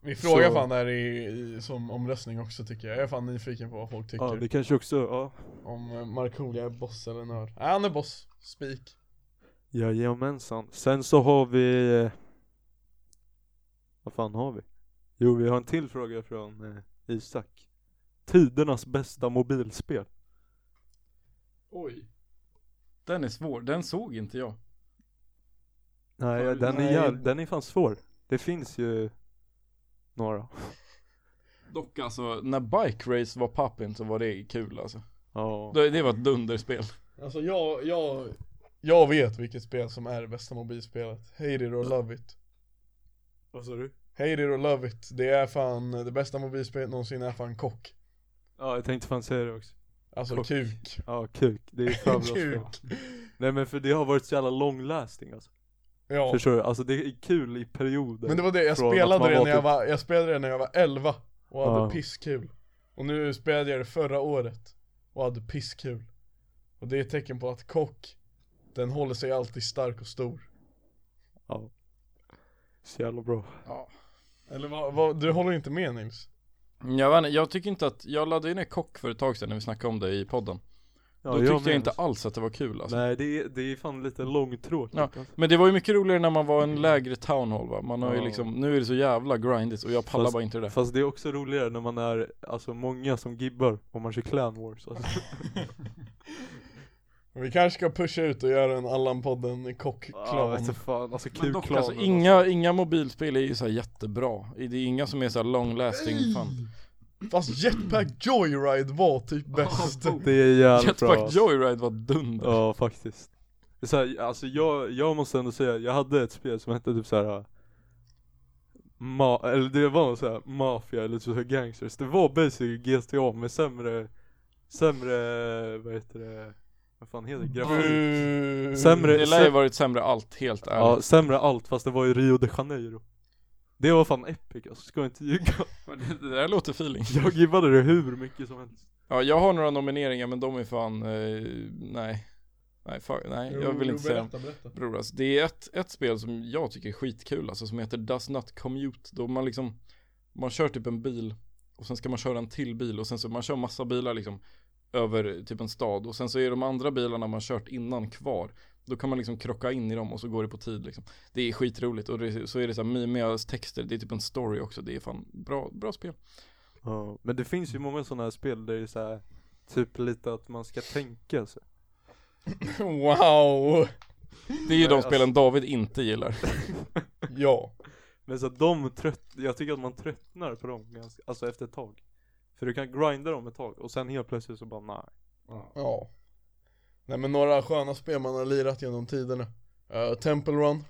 Vi frågar
Så-
fan här i, i, som omröstning också tycker jag Jag är fan nyfiken på vad folk tycker
Ja det kanske också, ja
Om eh, Markoolio är boss eller nörd Nej han är boss, spik
Jajamensan. Sen så har vi... eh, Vad fan har vi? Jo, vi har en till fråga från eh, Isak. Tidernas bästa mobilspel.
Oj.
Den är svår, den såg inte jag.
Nej,
Fan,
den,
nej.
Är, jäv- den är fan svår. Det finns ju några.
Dock alltså, när Bike Race var pappin så var det kul alltså.
Ja.
Det, det var ett dunderspel.
Alltså jag, jag Jag vet vilket spel som är det bästa mobilspelet Hate it or love it
Vad sa du?
Hate it or love it, det är fan det bästa mobilspelet någonsin är fan kock
Ja, jag tänkte fan säga det också.
Alltså
Kock.
kuk
Ja, kuk. Det är fan bra spel.
Kuk
Nej men för det har varit så jävla long-lasting alltså.
Ja
Förstår du? Alltså det är kul i perioder.
Men det var det, jag
Från att
spelade
man
det
var
när jag
typ-
var, jag spelade det när jag var 11 och hade
Ja.
pisskul Och nu spelade jag det förra året och hade pisskul Och det är ett tecken på att kock, den håller sig alltid stark och stor
Så jävla bra.
Eller vad, vad du håller inte med Nils?
Jag, vet, inte, jag tycker inte att, jag laddade ju ner Kock för ett tag sedan när vi snackade om det i podden.
Ja,
Då tyckte
med.
jag inte alls att det var kul alltså.
Nej det är, det är fan lite långtråkigt
Ja.
alltså.
Men det var ju mycket roligare när man var en lägre town hall va? Man har ju
Ja.
liksom, nu är det så jävla grindigt och jag pallar
Fast-
bara inte det där.
Fast det är också roligare när man är, alltså många som gibbar och man kör clan wars alltså.
Vi kanske ska pusha ut och göra en Allan-podden i
Ja
kock-klan
vet du fan, alltså
Men dock
Q-klanen
alltså, inga, inga mobilspel är ju så här jättebra. Det är inga som är så här long lasting fan.
Fast Jetpack Joyride var typ bäst
alltså. Det är jävligt bra
Jetpack
alltså.
Joyride var dunder.
Ja faktiskt så här, Alltså jag, jag måste ändå säga, jag hade ett spel som hette typ så här. äh, Ma- eller det var någon så här maffia eller typ så här gangsters Det var basically GTA med sämre, sämre, vad heter det, vad fan heter det?
Mm.
Grafik?
Buuu.
Sämre,
Det lär ju varit sämre allt, helt
Ja,
ärligt.
sämre allt fast det var i Rio de Janeiro Det var fan epic alltså, ska jag inte ljuga
Men Det, det där låter feeling.
Jag givade det hur mycket som helst
Ja, jag har några nomineringar men de är fan, eh, nej. Nej, fan, nej, jag vill inte säga
Berätta, berätta.
Bror, alltså, det är ett, ett spel som jag tycker är skitkul, alltså som heter Does Not Commute. Då man liksom, man kör typ en bil och sen ska man köra en till bil och sen så man kör massa bilar liksom över typ en stad och sen så är de andra bilarna man kört innan kvar. Då kan man liksom krocka in i dem och så går det på tid liksom. Det är skitroligt och det, så är det så här mimiga texter, det är typ en story också, det är fan bra, bra spel.
ja, Men det finns ju många sådana här spel där det är så här, typ lite att man ska tänka sig
Wow!
Det är ju de spelen David inte gillar.
Ja,
Men så att de trött, jag tycker att man tröttnar på dem ganska, alltså efter ett tag För du kan grinda dem ett tag och sen helt plötsligt så bara nej
ja Nej men några sköna spel man har lirat genom tiderna Eh, Temple Run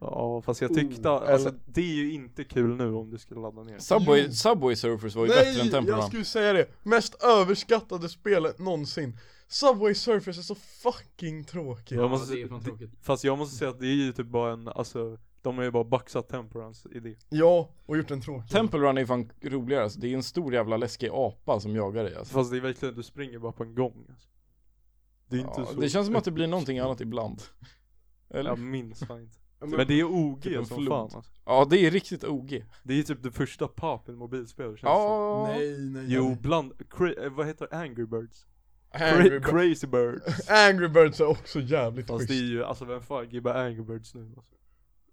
Ja fast jag tyckte,
Mm,
alltså det är ju inte kul nu om du skulle ladda ner
Subway, Subway Surfers var ju bättre än Temple
jag
Run.
skulle säga det! Mest överskattade spelet någonsin Subway Surfers är så fucking tråkigt
Jag måste,
det är fan tråkigt.
fast jag måste säga att det är ju typ bara en, alltså de har ju bara baxat Temperance idé
Ja, och gjort en tråkig
Temple Run är fan roligare alltså. Det är en stor jävla läskig apa som jagar dig alltså.
Fast det är verkligen, du springer bara på en gång alltså. Det är inte
ja,
så
Det känns som att det blir någonting annat ibland. Eller?
Jag
Ja,
minns fan inte
men-
Men det är OG
Typ en
som
flod.
fan alltså.
det är riktigt OG.
Det är typ det första papen mobilspel känns det
Ja.
Nej nej
som. Jo, bland, cra- eh, vad heter det? Angry Birds?
Angry,
Cra-
Birds.
Crazy Birds
Angry Birds är också jävligt
Fast det är
schysst
ju, alltså vem fan gibbar Angry Birds nu alltså.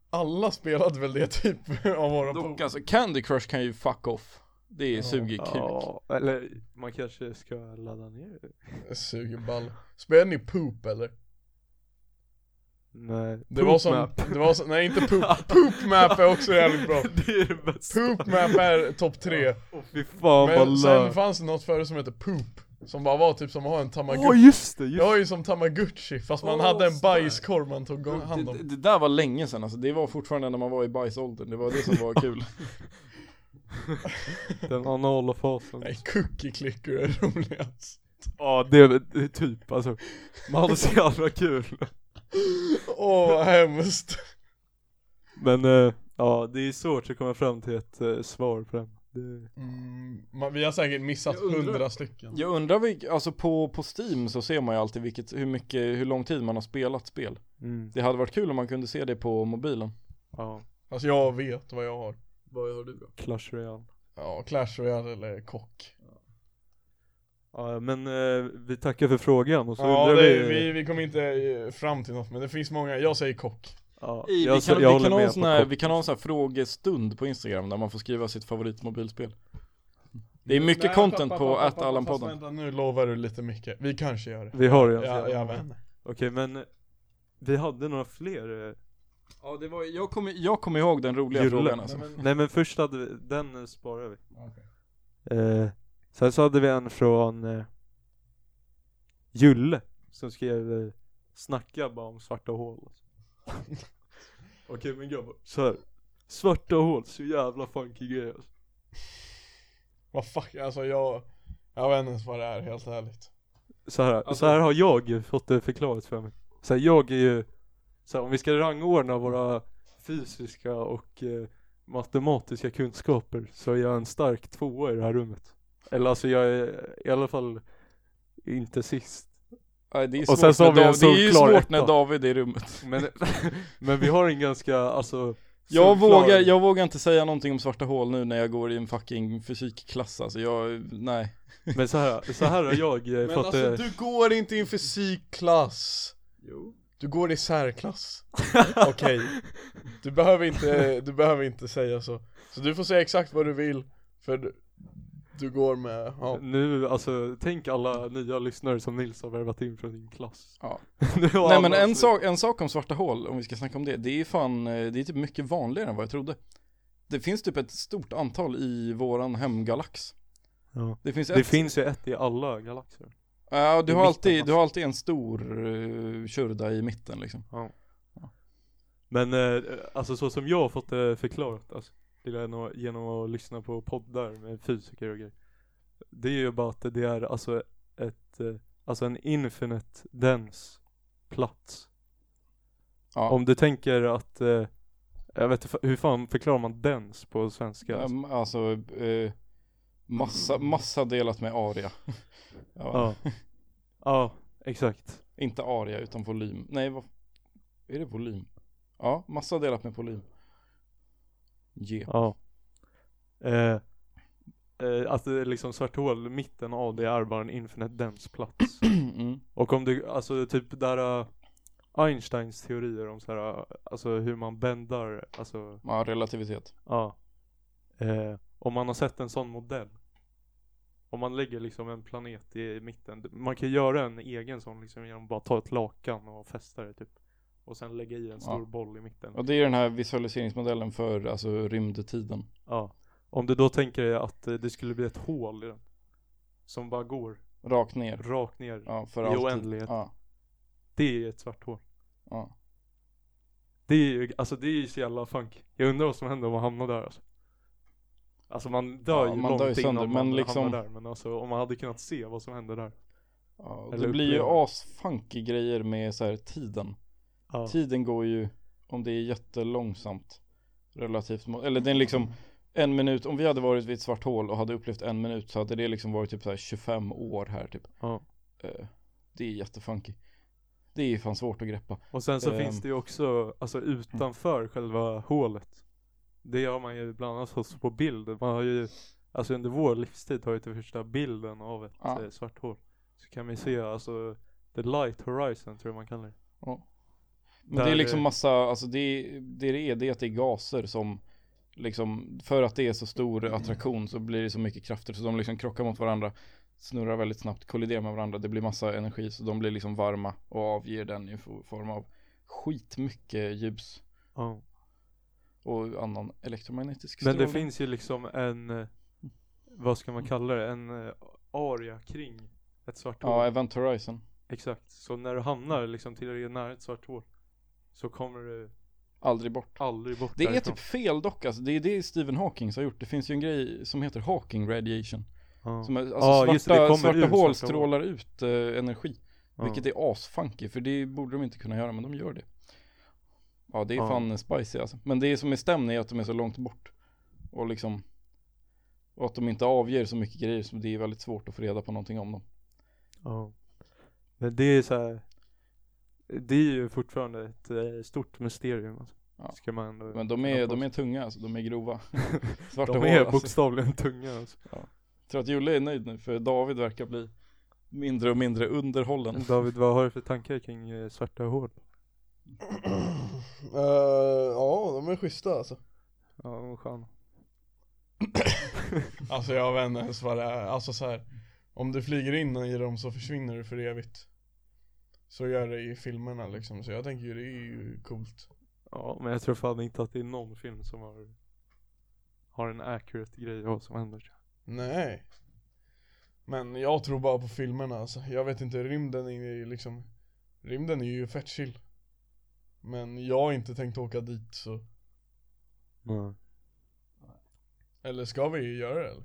Alla spelade väl det typ av våra
Dock
polare
alltså, Candy Crush kan ju fuck off. Det är suger kuk.
Ja, eller man kanske ska ladda ner det
Suger ball Spelade ni Poop eller?
Nej.
Det var som,
Poopmap.
det var som, nej inte poop, poopmap är också jävligt bra
det är det bästa.
Poopmap är topp tre,
Åh, Fy fan vad
men sen
löjligt.
fanns det något förut som hette poop Som bara var typ som att ha en
Åh
tamagotchi
just det, just
Jag har ju som tamagotchi, fast man
Åh,
hade en
stark.
bajskorv man tog hand
Det,
om
det där var länge sedan alltså, det var fortfarande när man var i bajsåldern, det var det som var kul
den anala fasen.
Nej, cookie clicker är roligast
Ja det, det är typ alltså, man hade så jävla kul.
Åh vad hemskt
Men eh, ja det är svårt att komma fram till ett eh, svar på den. Det,
mm, man, Vi har säkert missat
Jag undrar-
hundra stycken
Jag undrar, vilk, alltså på, på Steam så ser man ju alltid vilket, hur mycket, hur lång tid man har spelat spel
mm,
Det hade varit kul om man kunde se det på mobilen
ja,
Alltså jag vet vad jag har
Vad har du då?
Clash Royale.
Ja, Clash Royale eller kock
Ja men eh, vi tackar för frågan och så
Ja,
undrar
det,
vi.
vi, vi kommer inte eh, fram till något men det finns många, jag säger kock
Ja,
I,
jag,
vi,
så-
kan,
jag
vi,
håller
kan ha
med
en
på
sån här,
kock.
vi kan ha en sån här frågestund på Instagram där man får skriva sitt favoritmobilspel Det är mycket
Mm. Nej,
content
pappa,
på
pappa, pappa, fast
@allanpodden
Vänta nu lovar du lite mycket, vi kanske gör det
Vi har ju en
Ja,
till.
jag vet
Okej men eh, vi hade några fler eh,
Ja det var, jag kommer, jag kommer ihåg den roliga
Julle.
frågan alltså
Nej men först hade vi, den eh, sparar vi eh, Sen så hade vi en från eh, Julle Som skrev eh, Snacka bara om svarta hål Okej men grabbar så här. Svarta hål, så jävla funky grej alltså.
Vad fuck, alltså jag Jag vet inte ens vad det är helt ärligt
så här,
Alltså-
så här har jag fått det förklarat för mig Så här, jag är ju så här, om vi ska rangordna våra fysiska och eh, matematiska kunskaper så är jag en stark tvåa i det här rummet. Eller alltså jag är i alla fall inte sist.
Nej, det är,
Och
svårt
sen så har
när
vi en
Dav- det är ju
solklar
svårt
etta.
när David är i rummet
Men, men vi har en ganska, alltså
jag
solklar-
vågar, jag vågar inte säga någonting om svarta hål nu när jag går i en fucking fysikklass alltså, jag, nej
Men så här, så här har jag eh,
Men
fått
alltså
det.
du går inte i en fysikklass
Jo.
Du går i särklass Okej Du behöver inte, du behöver inte säga så Så du får säga exakt vad du vill För du, du går med, ja
Nu, alltså tänk alla nya lyssnare som Nils har värvat in från din klass.
Ja.
Nu har
Nej
alla
men en
slut.
sak, en sak om svarta hål, om vi ska snacka om det, det är fan, eh, det är typ mycket vanligare än vad jag trodde Det finns typ ett stort antal i våran hemgalax
Ja.
Det finns
Det
ett,
finns ju ett i alla galaxer.
ja,
i
du, har alltid,
mitten,
du har alltid en stor uh, körda i mitten liksom
Men eh, alltså så som jag har fått det förklarat alltså, det är nog genom att lyssna på poddar med fysiker och grejer. Det är ju bara att det är alltså ett, eh, alltså en infinite dense plats.
Ja,
Om du tänker att, eh, jag vet inte, hur fan förklarar man dens på svenska? Alltså,
Ehm, alltså, eh, massa, massa delat med aria ja,
ja. ja, exakt.
Inte aria utan volym, nej vad, är det volym? Ja, massa delat med volym Yeah.
Ja. Eh, eh, att det är liksom svart hål, mitten av det är bara en infinite dense plats.
Mm.
Och om du, alltså typ där äh, Einsteins teorier om så här, äh, alltså hur man bändar, alltså
Ja, relativitet
ja. Eh, om man har sett en sån modell. Om man lägger liksom en planet i mitten. d- Man kan göra en egen sån liksom genom att bara ta ett lakan och fästa det typ. Och sen lägga i en stor
Ja.
boll i mitten.
Och det är den här visualiseringsmodellen för alltså rymdtiden.
Ja. Om du då tänker dig att eh, det skulle bli ett hål i den. Som bara går
Rakt ner.
rakt ner.
Ja, för
I
alltid.
oändlighet.
Ja,
Det är ett svart hål.
ja.
Det är ju, alltså det är ju så jävla funk. Jag undrar vad som händer om man hamnar där alltså. Alltså man dör
Ja,
ju
man
långt
dör ju sönder,
innan
men
man
liksom-
hamnar där. Men alltså om man hade kunnat se vad som händer där.
ja och
Eller
det blir ju
upplever.
asfunky grejer med så här tiden.
Ja.
Tiden går ju, om det är jättelångsamt, relativt mot, eller den liksom en minut, om vi hade varit vid ett svart hål och hade upplevt en minut så hade det liksom varit typ så här 25 år här typ.
Ja.
Eh, Det är jättefunky. Det är fan svårt att greppa.
Och sen så
Ehm.
finns det ju också, alltså utanför själva hålet. Det har man ju bland annat också på bild. Man har ju, alltså under vår livstid har ju till första bilden av ett
Ja.
eh, svart hål. Så kan vi se alltså the light horizon tror jag man kallar det.
Men det
Där,
är liksom
eh,
massa, alltså det, det det är det är att det är gaser som liksom, för att det är så stor attraktion så blir det så mycket krafter så de liksom krockar mot varandra, snurrar väldigt snabbt, kolliderar med varandra, det blir massa energi så de blir liksom varma och avger den i fo- form av skitmycket ljus
Ja.
och annan elektromagnetisk
Men det
strålning.
finns ju liksom en, eh, vad ska man kalla det, en eh, area kring ett svart hål.
Ja, Event Horizon.
Exakt. Så när du hamnar liksom tillräckligt nära ett svart hål så kommer du
Aldrig bort.
aldrig bort
Det är
därifrån.
typ fel dock alltså. Det är det Stephen Hawking har gjort. Det finns ju en grej som heter Hawking radiation.
Ja.
Som är, alltså
Ja, just det, det
svarta,
kommer
svarta
ur svarta hål.
hål strålar ut eh, energi.
Ja.
Vilket är asfunky, för det borde de inte kunna göra, men de gör det. Ja, det är
Ja.
fan spicy alltså. Men det som är stämning är att de är så långt bort. Och liksom, och att de inte avger så mycket grejer, så det är väldigt svårt att få reda på någonting om dem.
Ja. Men det är så här. Det är ju fortfarande ett eh, stort mysterium alltså.
Ja.
Ska man ändå
Men de
kunna
är, de
påstå.
är tunga alltså, de är grova. Svarta
de
hål
är
alltså.
bokstavligen tunga alltså.
Jag tror att Julle är nöjd nu, för David verkar bli mindre och mindre underhållen.
David, vad har du för tankar kring eh, svarta hål?
Eh, ja, de är schyssta alltså
Ja, och stjärnor.
Alltså jag vet inte ens vad det är, alltså så här. Om du flyger in i dem så försvinner du för evigt Så gör det i filmerna liksom, så jag tänker ju det är ju coolt
Ja, men jag tror fan inte att det är någon film som har har en accurate grej av vad som händer.
Nej Men jag tror bara på filmerna alltså, jag vet inte, rymden är ju liksom Rymden är ju fett chill Men jag har inte tänkt åka dit så,
Mm.
eller ska vi göra det eller?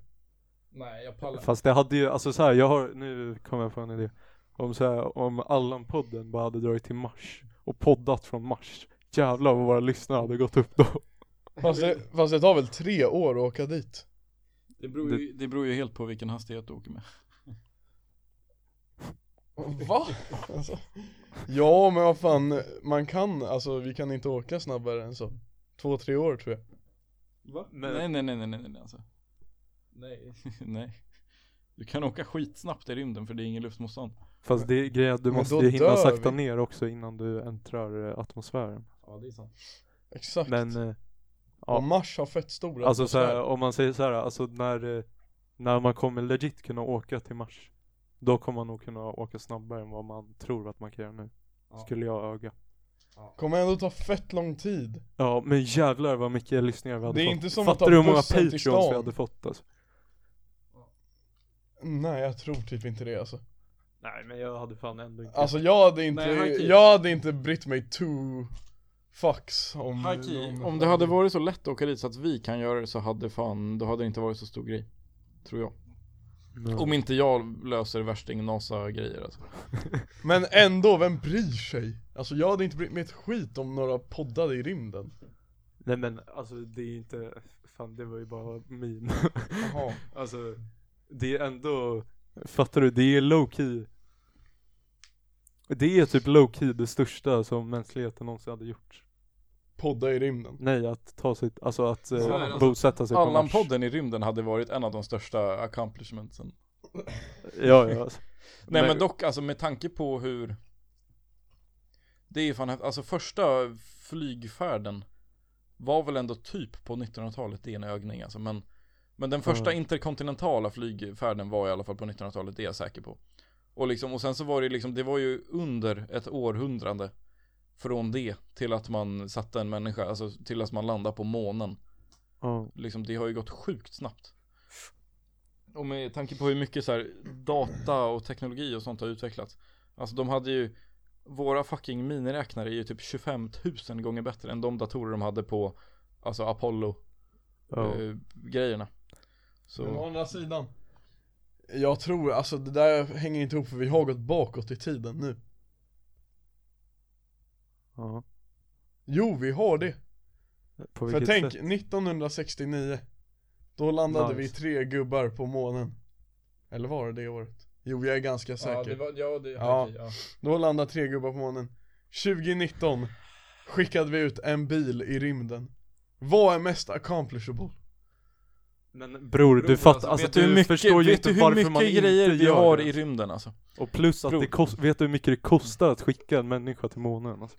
Nej, jag pallar.
Fast det hade ju, alltså så här, jag har, nu kom jag på en idé. Om så här, om Allan-podden bara hade dragit till Mars och poddat från Mars. Jävlar vad våra lyssnare hade gått upp då.
Fast det, fast det tar väl tre år att åka dit?
Det beror, ju, det beror ju helt på vilken hastighet du åker med.
Va? Alltså. Ja men vad fan, man kan, alltså vi kan inte åka snabbare än så Två, tre år tror jag
Va?
Men-
Nej, nej, nej, nej, nej, nej alltså.
Nej.
nej. Du kan åka skitsnabbt i rymden för det är ingen luftmotstånd.
Fast det är grejen att du
Men
måste
då
ju hinna
dör
sakta
vi.
ner också innan du äntrar eh, atmosfären.
Ja, det är sant.
Exakt
Men eh, ja.
Och Mars har fett stora
alltså så här,
atmosfär.
om man säger så här, alltså när, eh, när man kommer legit kunna åka till Mars. Då kommer man nog kunna åka snabbare än vad man tror att man kan göra nu.
Ja.
Skulle jag öga.
Kommer ändå ta fett lång tid
Ja men jävlar vad mycket lyssningar vi hade
Det är
fått.
inte som att
Fattar
ta
du hur många
bussen till
patreons vi
stan?
hade fått alltså?
Nej jag tror typ inte det alltså
Nej men jag hade fan ändå inte.
Alltså jag hade inte,
Nej, high key.
jag hade inte brytt mig two fucks om någon-
Om det hade varit så lätt att åka dit så att vi kan göra det så hade fan, då hade det inte varit så stor grej. Tror jag. Om inte jag löser värsting NASA-grejer alltså.
Men ändå, vem bryr sig? Alltså jag hade inte brytt mig ett skit om några poddade i rymden
Nej men alltså det är inte, fan det var ju bara min.
Jaha
Alltså, det är ändå, fattar du? Det är low key. Det är typ low key det största som mänskligheten någonsin hade gjort.
Podda i rymden
Nej, att ta sig, alltså att eh,
Så är det.
bosätta sig på Mars.
Allan-podden i rymden hade varit en av de största accomplishmentsen.
Ja, ja. Alltså.
Nej
Men-
men dock, alltså med tanke på hur Det är fan, häftigt. alltså första flygfärden Var väl ändå typ på 1900-talet, det är en ögning alltså men Men den första
Ja.
interkontinentala flygfärden var i alla fall på 1900-talet, det är jag säker på Och liksom, och sen så var det liksom, det var ju under ett århundrade Från det till att man satte en människa, alltså till att man landade på månen
Ja.
liksom, det har ju gått sjukt snabbt. Och med tanke på hur mycket så här, data och teknologi och sånt har utvecklats. Alltså de hade ju, våra fucking miniräknare är ju typ 25 000 gånger bättre än de datorer de hade på, alltså
ja.
Eh, Apollo-grejerna.
Men å
Så,
andra sidan Jag tror, alltså det där hänger inte ihop för vi har gått bakåt i tiden nu
ja.
Jo vi har det,
På
för
vilket
tänk
sätt?
1969 Då landade
Nice.
vi tre gubbar på månen Eller var det det året? Jo jag är ganska säker
Ja, det var, ja, det, ja.
Ja.
ja.
Då landade tre gubbar på månen 2019 skickade vi ut en bil i rymden Vad är mest accomplishable?
Men bror, du fattar, alltså
vet du hur
du förstår
mycket,
ju
vet
inte
du hur
varför man
mycket
inte
grejer vi
gör
har
det.
i rymden alltså?
Och plus att
Prov.
det kost, vet du hur mycket det kostar att skicka en människa till månen? Alltså.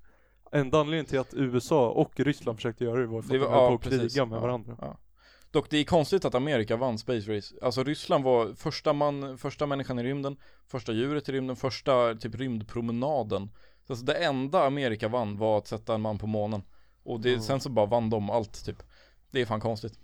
Enda anledningen till att USA och Ryssland försökte göra det var för
Det
att de
var-
höll
ja,
på att
precis.
kriga med
Ja.
varandra.
Dock det är konstigt att Amerika vann Space Race. Alltså Ryssland var första man, första människan i rymden, första djuret i rymden, första typ rymdpromenaden. Så alltså det enda Amerika vann var att sätta en man på månen. Och det, sen så bara vann de allt typ. Det är fan konstigt.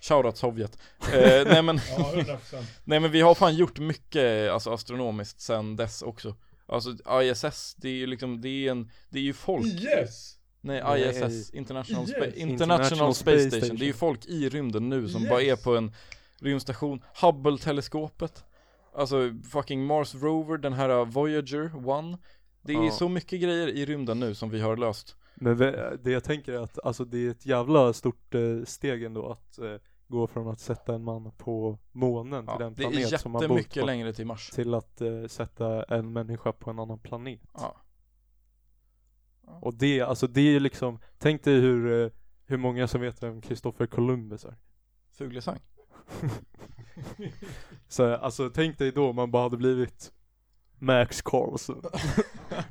Shoutout Sovjet. Eh, nej men
Ja, 100%.
Nej men vi har fan gjort mycket alltså, astronomiskt sen dess också Alltså ISS, det är ju liksom, det är en, det är ju folk
Yes!
Nej
Nej.
ISS, International,
IS.
Spa- International,
International
Space
Space
Station.
Station.
Det är ju folk i rymden nu som
Yes.
bara är på en rymdstation Hubble-teleskopet Alltså fucking Mars Rover, den här uh, Voyager 1 Det är
Ja.
så mycket grejer i rymden nu som vi har löst
Men ve- det jag tänker är att alltså, det är ett jävla stort eh, steg ändå att eh, gå från att sätta en man på månen till
ja,
den
Det är
planet som man bott
jättemycket
på
längre till Mars
till att eh, sätta en människa på en annan planet.
ja.
Och det, alltså det är ju liksom, tänk dig hur, eh, hur många som vet vem Kristoffer Columbus är.
Fuglesang
Så alltså tänk dig då om man bara hade blivit Max Carlson.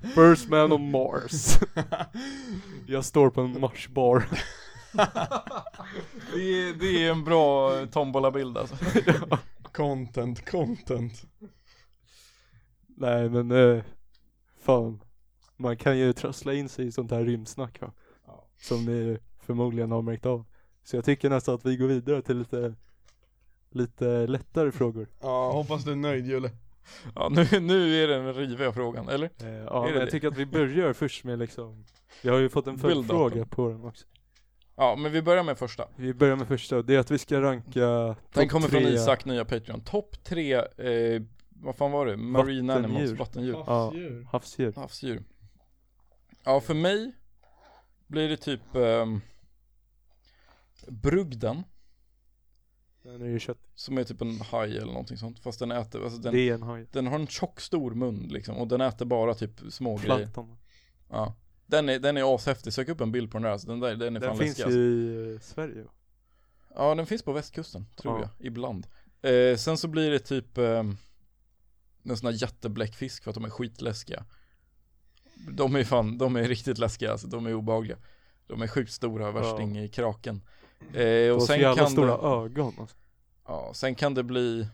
First man on Mars. Jag står på en Marsbar.
det, är, det är en bra tombola-bild alltså
Content, content
Nej men eh, fan. Man kan ju trassla in sig i sånt här rymdsnack va.
Ja.
Som ni förmodligen har märkt av. Så jag tycker nästan att vi går vidare till lite, lite
Mm.
lättare frågor.
Ja, hoppas du är nöjd Julle
Ja nu, nu är det den riviga frågan, eller?
Eh, ja,
Är det
men jag
det?
tycker att vi börjar först med liksom Jag har ju fått en
Build up.
följdfråga på den också
Ja men vi börjar med första
Vi börjar med första och det är att vi ska ranka
Den
topp
kommer från
tre-
Isak, nya Patreon Topp tre, eh, vad fan var det? Marine animals,
Vattendjur.
vattendjur
Havsdjur.
Havsdjur
Havsdjur Ja för mig blir det typ ehm, Brugden,
Den är ju kött
som är typ en haj eller någonting sånt Fast den äter, alltså den,
Det är en haj
den har en tjock stor mun liksom och den äter bara typ små grejer
Plankton
Ja den är, den är ashäftig, sök upp en bild på den där, alltså den där, den är
Den
fan
finns
läskig
ju i
alltså.
eh, Sverige va?
Ja den finns på västkusten tror
Ja.
jag, ibland eh, Sen så blir det typ eh, En sån här jättebläckfisk för att de är skitläskiga De är fan, de är riktigt läskiga alltså, de är obehagliga De är sjukt stora, värsting i kraken eh,
De
Och
har så
sen
jävla
kan
stora
det,
ögon alltså.
ja, sen kan det bli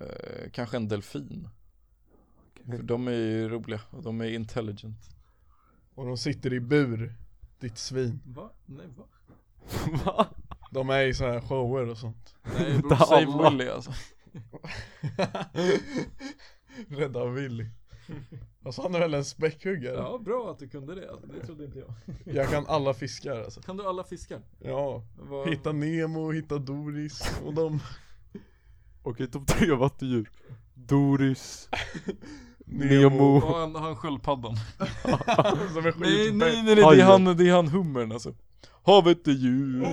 eh, Kanske en delfin För de är ju roliga och de är intelligent
Och de sitter i bur, ditt svin
Va? Nej va?
Va?
De är i så här shower och sånt
Nej
bror, save
save Willy alltså
Rädda Willy Alltså han är väl en späckhuggare?
Ja, bra att du kunde det. Alltså, det trodde inte jag.
Jag kan alla fiskar alltså
Kan du alla fiskar?
Ja,
Vad-
hitta Nemo, hitta Doris och de
Okej topp tre vattendjur Doris
Nemo.
Nemo
Och han, han sköldpaddan
som är
typ
Nej nej
skitbäst
nej, nej det, är
Hajen.
han, det är han hummern alltså Havet är djupt,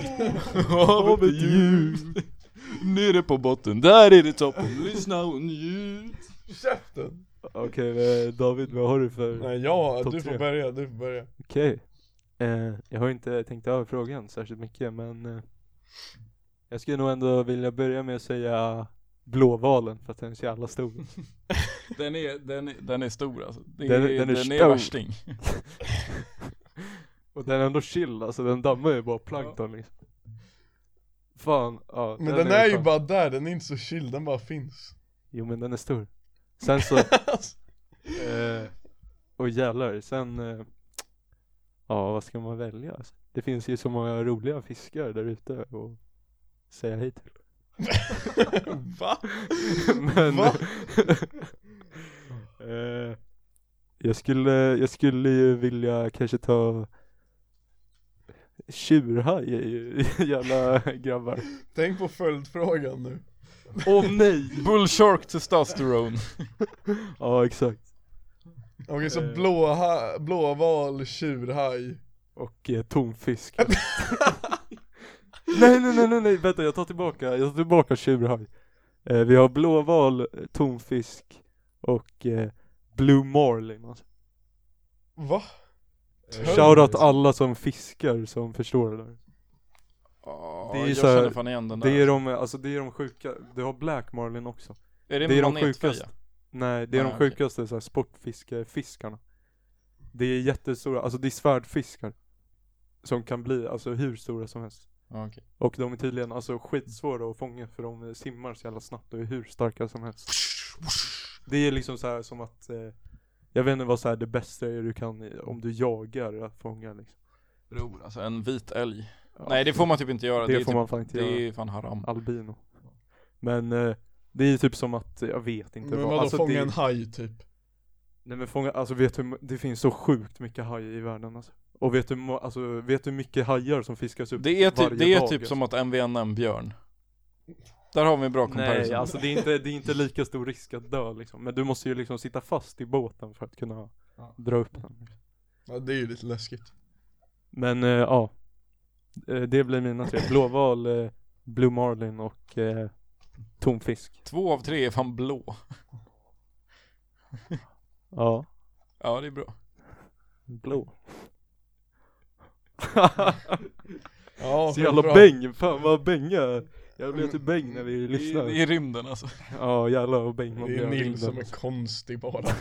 Oh.
havet är djupt Nere på botten, där är det toppen, lyssna och njut
Käften!
Okej eh, David vad har du för?
Nej ja,
Topp
du
tre.
får börja, du får börja
Okej eh, Jag har inte tänkt över frågan särskilt mycket men eh, Jag skulle nog ändå vilja börja med att säga Blåvalen för att den är så jävla stor
Den är, den är, den är stor alltså det
Den-
är,
den är
den är,
stor.
värsting
Och den är ändå chill alltså, den dammar ju bara plankton liksom Fan, ja
Men den är ju
fan-
bara där, den är inte så chill, den bara finns
Jo men den är stor Sen så, eh, och jävlar, sen eh, Ja vad ska man välja? alltså? Det finns ju så många roliga fiskar där ute och säga hej till
Va?
Men
Va?
eh, jag, skulle, jag skulle ju vilja kanske ta Tjurhaj är ju jävla grabbar
Tänk på följdfrågan nu
Åh nej!
Bullshark testosterone
Ja exakt
Okej så
Eh.
blå, ha- blåval, tjurhaj
Och eh, tonfisk Nej nej nej nej nej vänta jag tar tillbaka, jag tar tillbaka tjurhaj eh, Vi har blåval, tonfisk och eh, blue marlin alltså.
Va?
Eh, Shoutout alla som fiskar som förstår det där
Ja,
Det är ju
Ah, Jag
så här-
känner fan igen den där
Det är de, alltså det är de sjuka, du har black marlin också
är det,
det är de
manetfeja?
sjukaste. Nej det är
Nej,
de
okej.
sjukaste så här, sportfiskefiskarna Det är jättestora, alltså det är svärdfiskar Som kan bli, alltså hur stora som helst
Ja, Ah, okej.
Och de är tydligen alltså skitsvåra att fånga för de eh, simmar så jävla snabbt och är hur starka som helst. Det är liksom så här som att eh, Jag vet inte vad så här det bästa är du kan, om du jagar att fånga liksom.
Bror, alltså en vit älg.
Ja.
Nej det får man typ inte göra.
Alltså, Det,
är
får
typ,
man fan inte göra.
Det är fan haram.
Albino. Men eh, det är ju typ som att, jag vet inte
Men vadå
alltså,
fånga
det,
en haj typ?
Nej men fånga, alltså vet du hur m- det finns så sjukt mycket hajar i världen alltså. Och vet du, hur må- alltså, vet du hur mycket hajar som fiskas upp
Det är
varje
typ, det är
dag,
typ
alltså?
som att MVN är en björn. Där har vi en bra
Nej
comparison.
alltså det är, inte, det är inte lika stor risk att dö liksom. Men du måste ju liksom sitta fast i båten för att kunna
Ja.
dra upp den.
Ja det är ju lite läskigt.
Men eh, ja. Eh, det blir mina tre. Blåval, eh, Blue Marlin och eh, Tonfisk.
Två av tre är fan blå.
Ja.
Ja det är bra.
Blå.
Ja,
Så jävla bäng, fan vad bänga. Jag blev
Men-
till bäng när
Mm.
vi
I,
lyssnar.
I rymden alltså.
Ja jävlar vad bäng man
Det
blir
är
av
Nils
rymden.
som är konstig bara.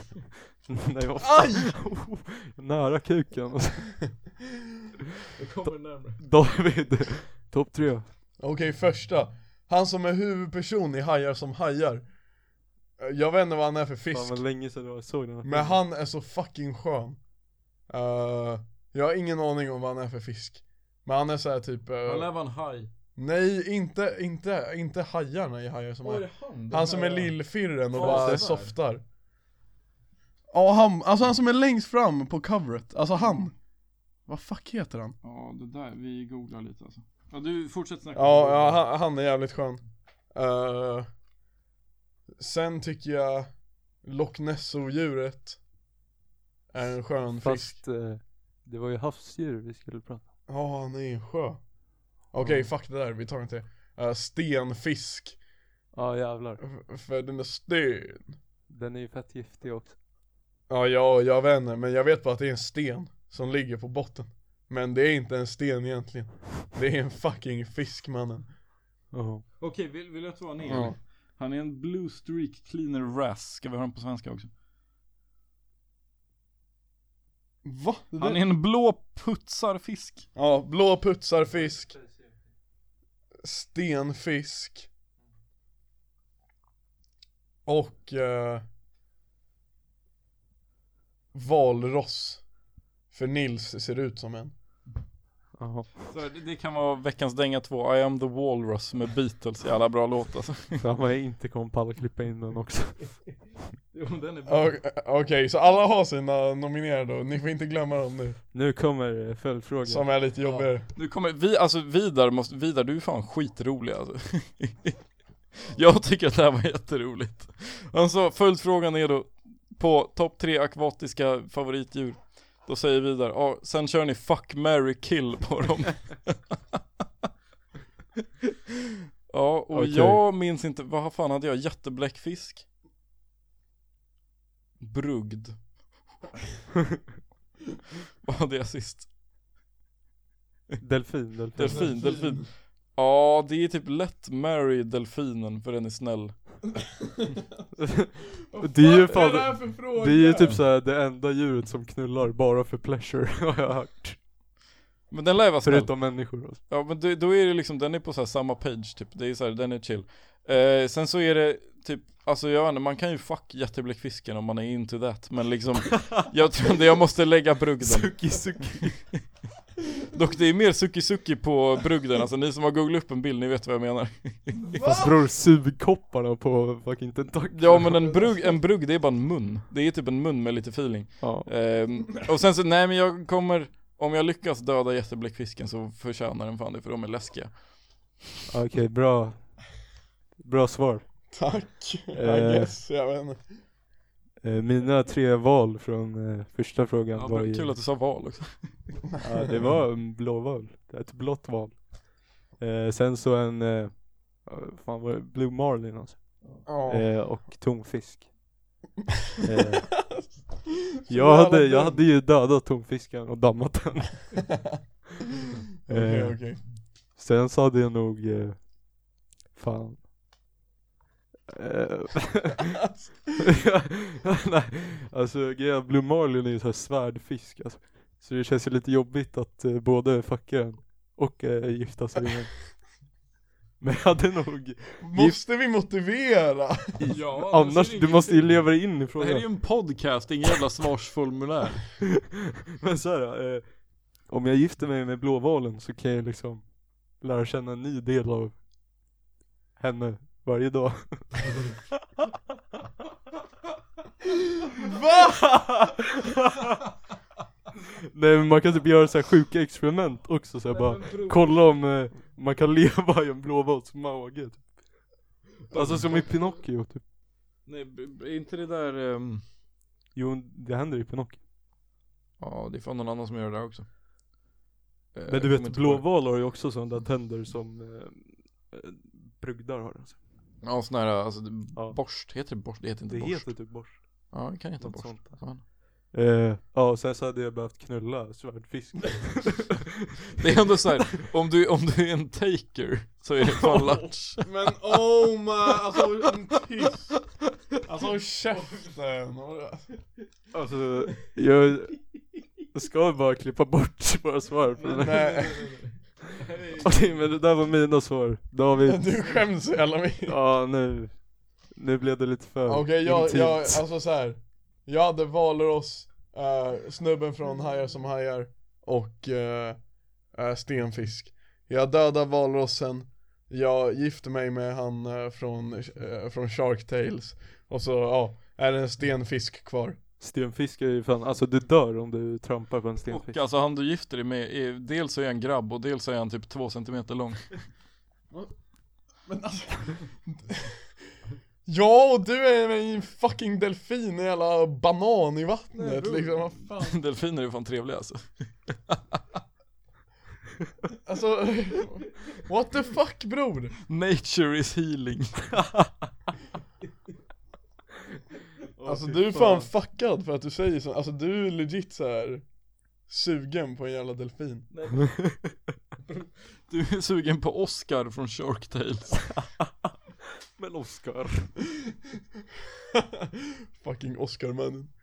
Nej, vad fan. Nära kuken.
Nu kommer det närmare.
David, topp tre.
Okej första, han som är huvudperson i Hajar som hajar Jag vet inte vad han är för
Fan
fisk,
vad länge sedan jag såg den här
men
filmen.
han är så fucking skön Eh, Jag har ingen aning om vad han är för fisk Men han är såhär typ, eh,
Han lär vara en haj.
nej inte, inte, inte hajarna i Hajar som
Vad är
hajar
det han? Den
Han som
här-
är lillfirren och
Ja,
bara
sådär.
softar Ja han, alltså han som är längst fram på covret, alltså han Vad fuck heter han?
Ja det där, vi googlar lite alltså. Ja du, fortsätt snacka.
Ja, ja han, han är jävligt skön. Eh, sen tycker jag Loch Nesso-djuret är en skön fisk.
Fast eh, det var ju havsdjur vi skulle prata om.
Ja, han är i en sjö. Okej, fuck det där, vi tar inte det. Eh, stenfisk.
Ja jävlar.
F- För den är sten.
Den är ju fett giftig också.
Ja, ja, jag vet inte, men jag vet bara att det är en sten som ligger på botten. Men det är inte en sten egentligen. Det är en fucking fisk mannen.
Ja.
Okej, vill, vill du att han är?
Ja.
Han är en blue streak cleaner ras. Ska vi ha den på svenska också?
Va? Det
Han
där-
är en blå putsarfisk.
Ja, blå putsarfisk. Stenfisk. Och eh, valross. För Nils ser ut som en.
Jaha.
Så det, det kan vara veckans dänga 2, I am the walrus med Beatles, jävla bra låt alltså.
Fan vad jag inte kommer palla klippa in den också.
Jo, den är bra.
O- Okej, så alla har sina nominerade och ni får inte glömma dem nu.
Nu kommer eh, följdfrågan.
Som är lite jobbigare.
Nu kommer, vi, alltså Vidar måste, Vidar du är fan skitrolig alltså. Jag tycker att det här var jätteroligt. Alltså följdfrågan är då, på topp tre akvatiska favoritdjur, då säger Vidar, ja sen kör ni fuck, marry, kill på dem. ja, och
Okej.
jag minns inte, vad fan hade jag, jättebläckfisk? Brugd. vad hade jag sist?
Delfin, delfin.
Delfin, delfin. Ja, det är typ lätt Mary delfinen för den är snäll.
Det är ju
Vad är det
fan,
här för fråga?
det är ju typ såhär det enda djuret som knullar bara för pleasure har jag hört.
Men den lär ju vara snäll.
Förutom människor alltså.
Ja, men då, då är det liksom, den är på så här samma page typ. Det är så här, den är chill. Eh, sen så är det typ, alltså jag vet inte, man kan ju fuck jättebläckfisken om man är into that. Men liksom, jag tror inte jag måste lägga brugden.
Suki suki.
Dock det är mer suki-suki på brugden, alltså ni som har googlat upp en bild, ni vet vad jag menar.
Fast bror sugkopparna på fucking tentakler.
Ja men en brugg, en brugg det är bara en mun. Det är typ en mun med lite feeling.
Ja.
Ehm, och sen så, nej men jag kommer, om jag lyckas döda jättebläckfisken så förtjänar den fan det för de är läskiga.
Okej, bra. Bra svar.
Tack, I
Eh.
guess, jag vet inte.
Eh, Mina tre val från eh, första frågan
Ja,
var
bra,
ju,
kul att du sa val också.
ja, det var en blåval, ett blått val. Eh, Sen så en, eh, vad fan var det, Blue Marlin alltså.
Ja.
Eh, Och tonfisk. Eh,
Så jävla
Jag hade, jag
dumt.
hade ju dödat tonfisken och dammat den.
Okej,
Eh,
okej.
Sen så hade jag nog, eh, fan. Eh, Nej, alltså grejen är att Blue Marlin är ju såhär svärdfisk alltså. Så det känns ju lite jobbigt att eh, både fucka den och eh, gifta sig med den. Men jag hade nog,
Måste vi motivera?
Ja,
annars, du måste ju leva dig in i
Det här är ju
frågan.
en podcast, ingen jävla svarsformulär.
Men såhär, eh, om jag gifter mig med blåvalen så kan jag liksom lära känna en ny del av henne varje dag.
Va?
Nej men man kan typ göra så här sjuka experiment också så här, bara kolla om eh, man kan leva i en blåvals mage typ. Alltså som i Pinocchio typ.
Nej, b- b- är inte det där... ehm,
Jo det händer i Pinocchio.
Ja, det är fan någon annan som gör det där också. Eh,
Men
jag
du
kommer
vet
inte på det.
blåvalar har ju också sådana där tänder som eh, eh, brudar har. Alltså.
Ja, sån här, alltså, det-
Ja.
borst, heter det borst? Det heter inte
Det
borst.
heter typ borst.
Ja, det kan heta
Något
borst.
sånt där.
Fan.
Eh, ja och sen så hade jag behövt knulla svärdfisk.
Det är ändå så här, om du, om du är en taker så är det fan lunch.
Men oh my, alltså tyst. Alltså käften.
alltså jag ska bara klippa bort våra svar. För den här.
Nej,
Okej men det där var mina svar. David.
du skäms så jävla mycket.
Ja nu, nu blev det lite för
Okej jag,
intimt.
jag, alltså så här. Jag hade Valros, eh, snubben från Hajar som hajar och eh, eh, Stenfisk Jag dödar valrossen, jag gifter mig med han eh, från, eh, från Shark Tales Och så ja, är det en stenfisk kvar
Stenfisk är ju fan, alltså du dör om du trampar på en stenfisk.
Och alltså han du gifter dig med, är, dels är han grabb och dels är han typ två centimeter lång.
Men alltså Ja och du är en fucking delfin, en jävla banan i vattnet liksom, vad fan
Delfiner är fan trevliga alltså.
Alltså, what the fuck bror?
Nature is healing.
Alltså du är fan fuckad för att du säger så, alltså du är legit så här sugen på en jävla delfin
Du är sugen på Oscar från Shark Tales.
Men Oscar.
Fucking Oscarmannen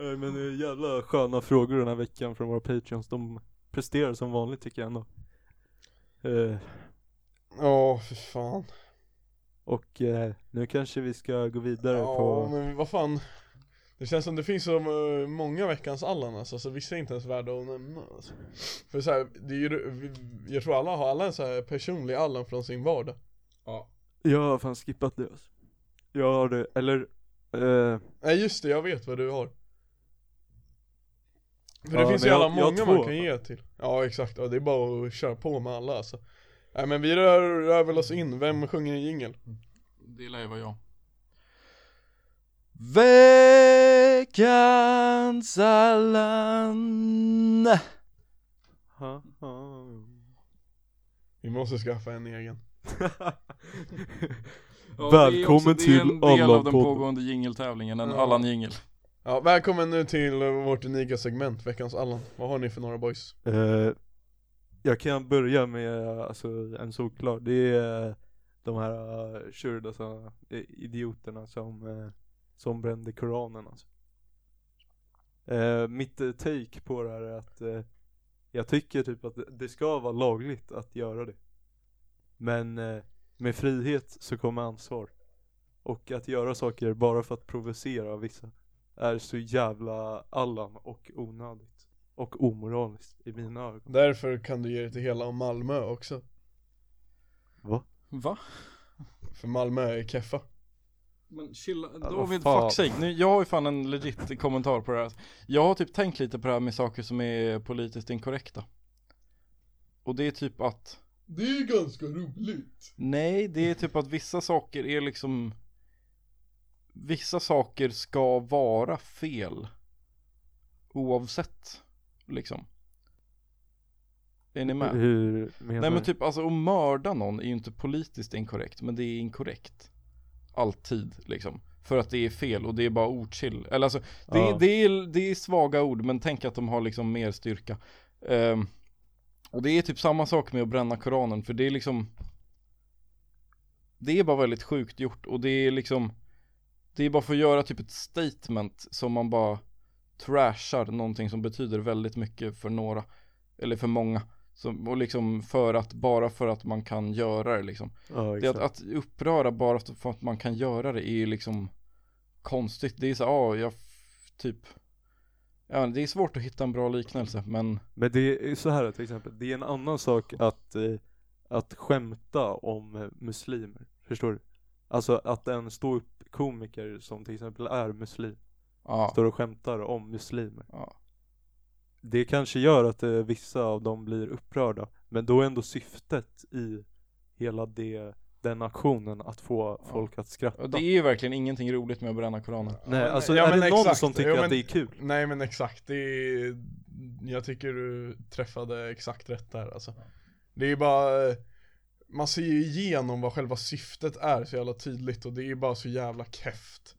Eh, Men eh, jävla sköna frågor den här veckan från våra patreons. De presterar som vanligt tycker jag ändå. Eh,
Ja, för fan
och eh, nu kanske vi ska gå vidare
Ja
på...
men vad fan Det känns som det finns så eh, många veckans Allan alltså, så vissa är inte ens värda att nämna alltså. För så här, det är ju, vi- jag tror alla har alla en så här personlig Allan från sin vardag
Jag har fan skippat det alltså. Jag har det, eller... Eh,
Nej just det, jag vet vad du har För det
Ja,
finns
men
ju alla
jag- jag har
många
två.
man kan ge till Ja exakt, ja, det är bara att köra på med alla alltså Nej men vi rör, rör väl oss in, vem sjunger en jingel?
Det lär ju vara jag. Veckans Allan.
ha, ha.
Vi måste skaffa en egen
Välkommen till
Det är en del av den
Allan-podden.
pågående jingeltävlingen, en
Ja.
Allan-jingel.
Ja, välkommen nu till eh, vårt unika segment, veckans Allan Vad har ni för några boys?
Eh, jag kan börja med alltså, en solklar. Det är eh, de här eh, kurdasarna, eh, idioterna som, eh, som brände koranen alltså. Eh, mitt eh, take på det här är att eh, jag tycker typ att det ska vara lagligt att göra det. Men eh, med frihet så kommer ansvar. Och att göra saker bara för att provocera vissa är så jävla Allan och onödigt. Och omoraliskt i mina ögon.
Därför kan du ge det till hela Malmö också
Va?
För Malmö är keffa
Men chilla,
Ja,
då
vad
vi
fan.
fuck sake. Nu, jag har ju fan en legit kommentar på det här. Jag har typ tänkt lite på det här med saker som är politiskt inkorrekta. Och det är typ att
Det är ganska roligt
Nej, det är typ att vissa saker är liksom Vissa saker ska vara fel Oavsett Liksom Är ni med?
Hur menar
Nej men
du?
typ alltså att mörda någon är ju inte politiskt inkorrekt Men det är inkorrekt Alltid liksom För att det är fel och det är bara ochill Eller alltså det,
Ja.
det, är, det är svaga ord men tänk att de har liksom mer styrka Ehm, Och det är typ samma sak med att bränna koranen för det är liksom Det är bara väldigt sjukt gjort och det är liksom Det är bara för att göra typ ett statement som man bara trashar någonting som betyder väldigt mycket för några Eller för många Som, och liksom för att, bara för att man kan göra det liksom.
Ja,
Det att,
exakt.
att uppröra bara för att man kan göra det är ju liksom konstigt. Det är så, ja, jag f- typ, ja, det är svårt att hitta en bra liknelse, men
Men det är så här till exempel, det är en annan sak att, eh, att skämta om eh, muslimer. Förstår du? Alltså att en ståuppkomiker som till exempel är muslim
ja.
står och skämtar om muslimer.
Ja.
Det kanske gör att eh, vissa av dem blir upprörda, men då är ändå syftet i hela det, den aktionen att få
Ja.
folk att skratta.
Och det är ju verkligen ingenting roligt med att bränna koranen.
Nej,
men-
alltså
ja,
är
men
det någon
exakt.
som tycker
Jo, men-
att det är kul?
Nej men exakt, det är, jag tycker du träffade exakt rätt där alltså. Det är bara, man ser ju igenom vad själva syftet är så jävla tydligt och det är bara så jävla keft.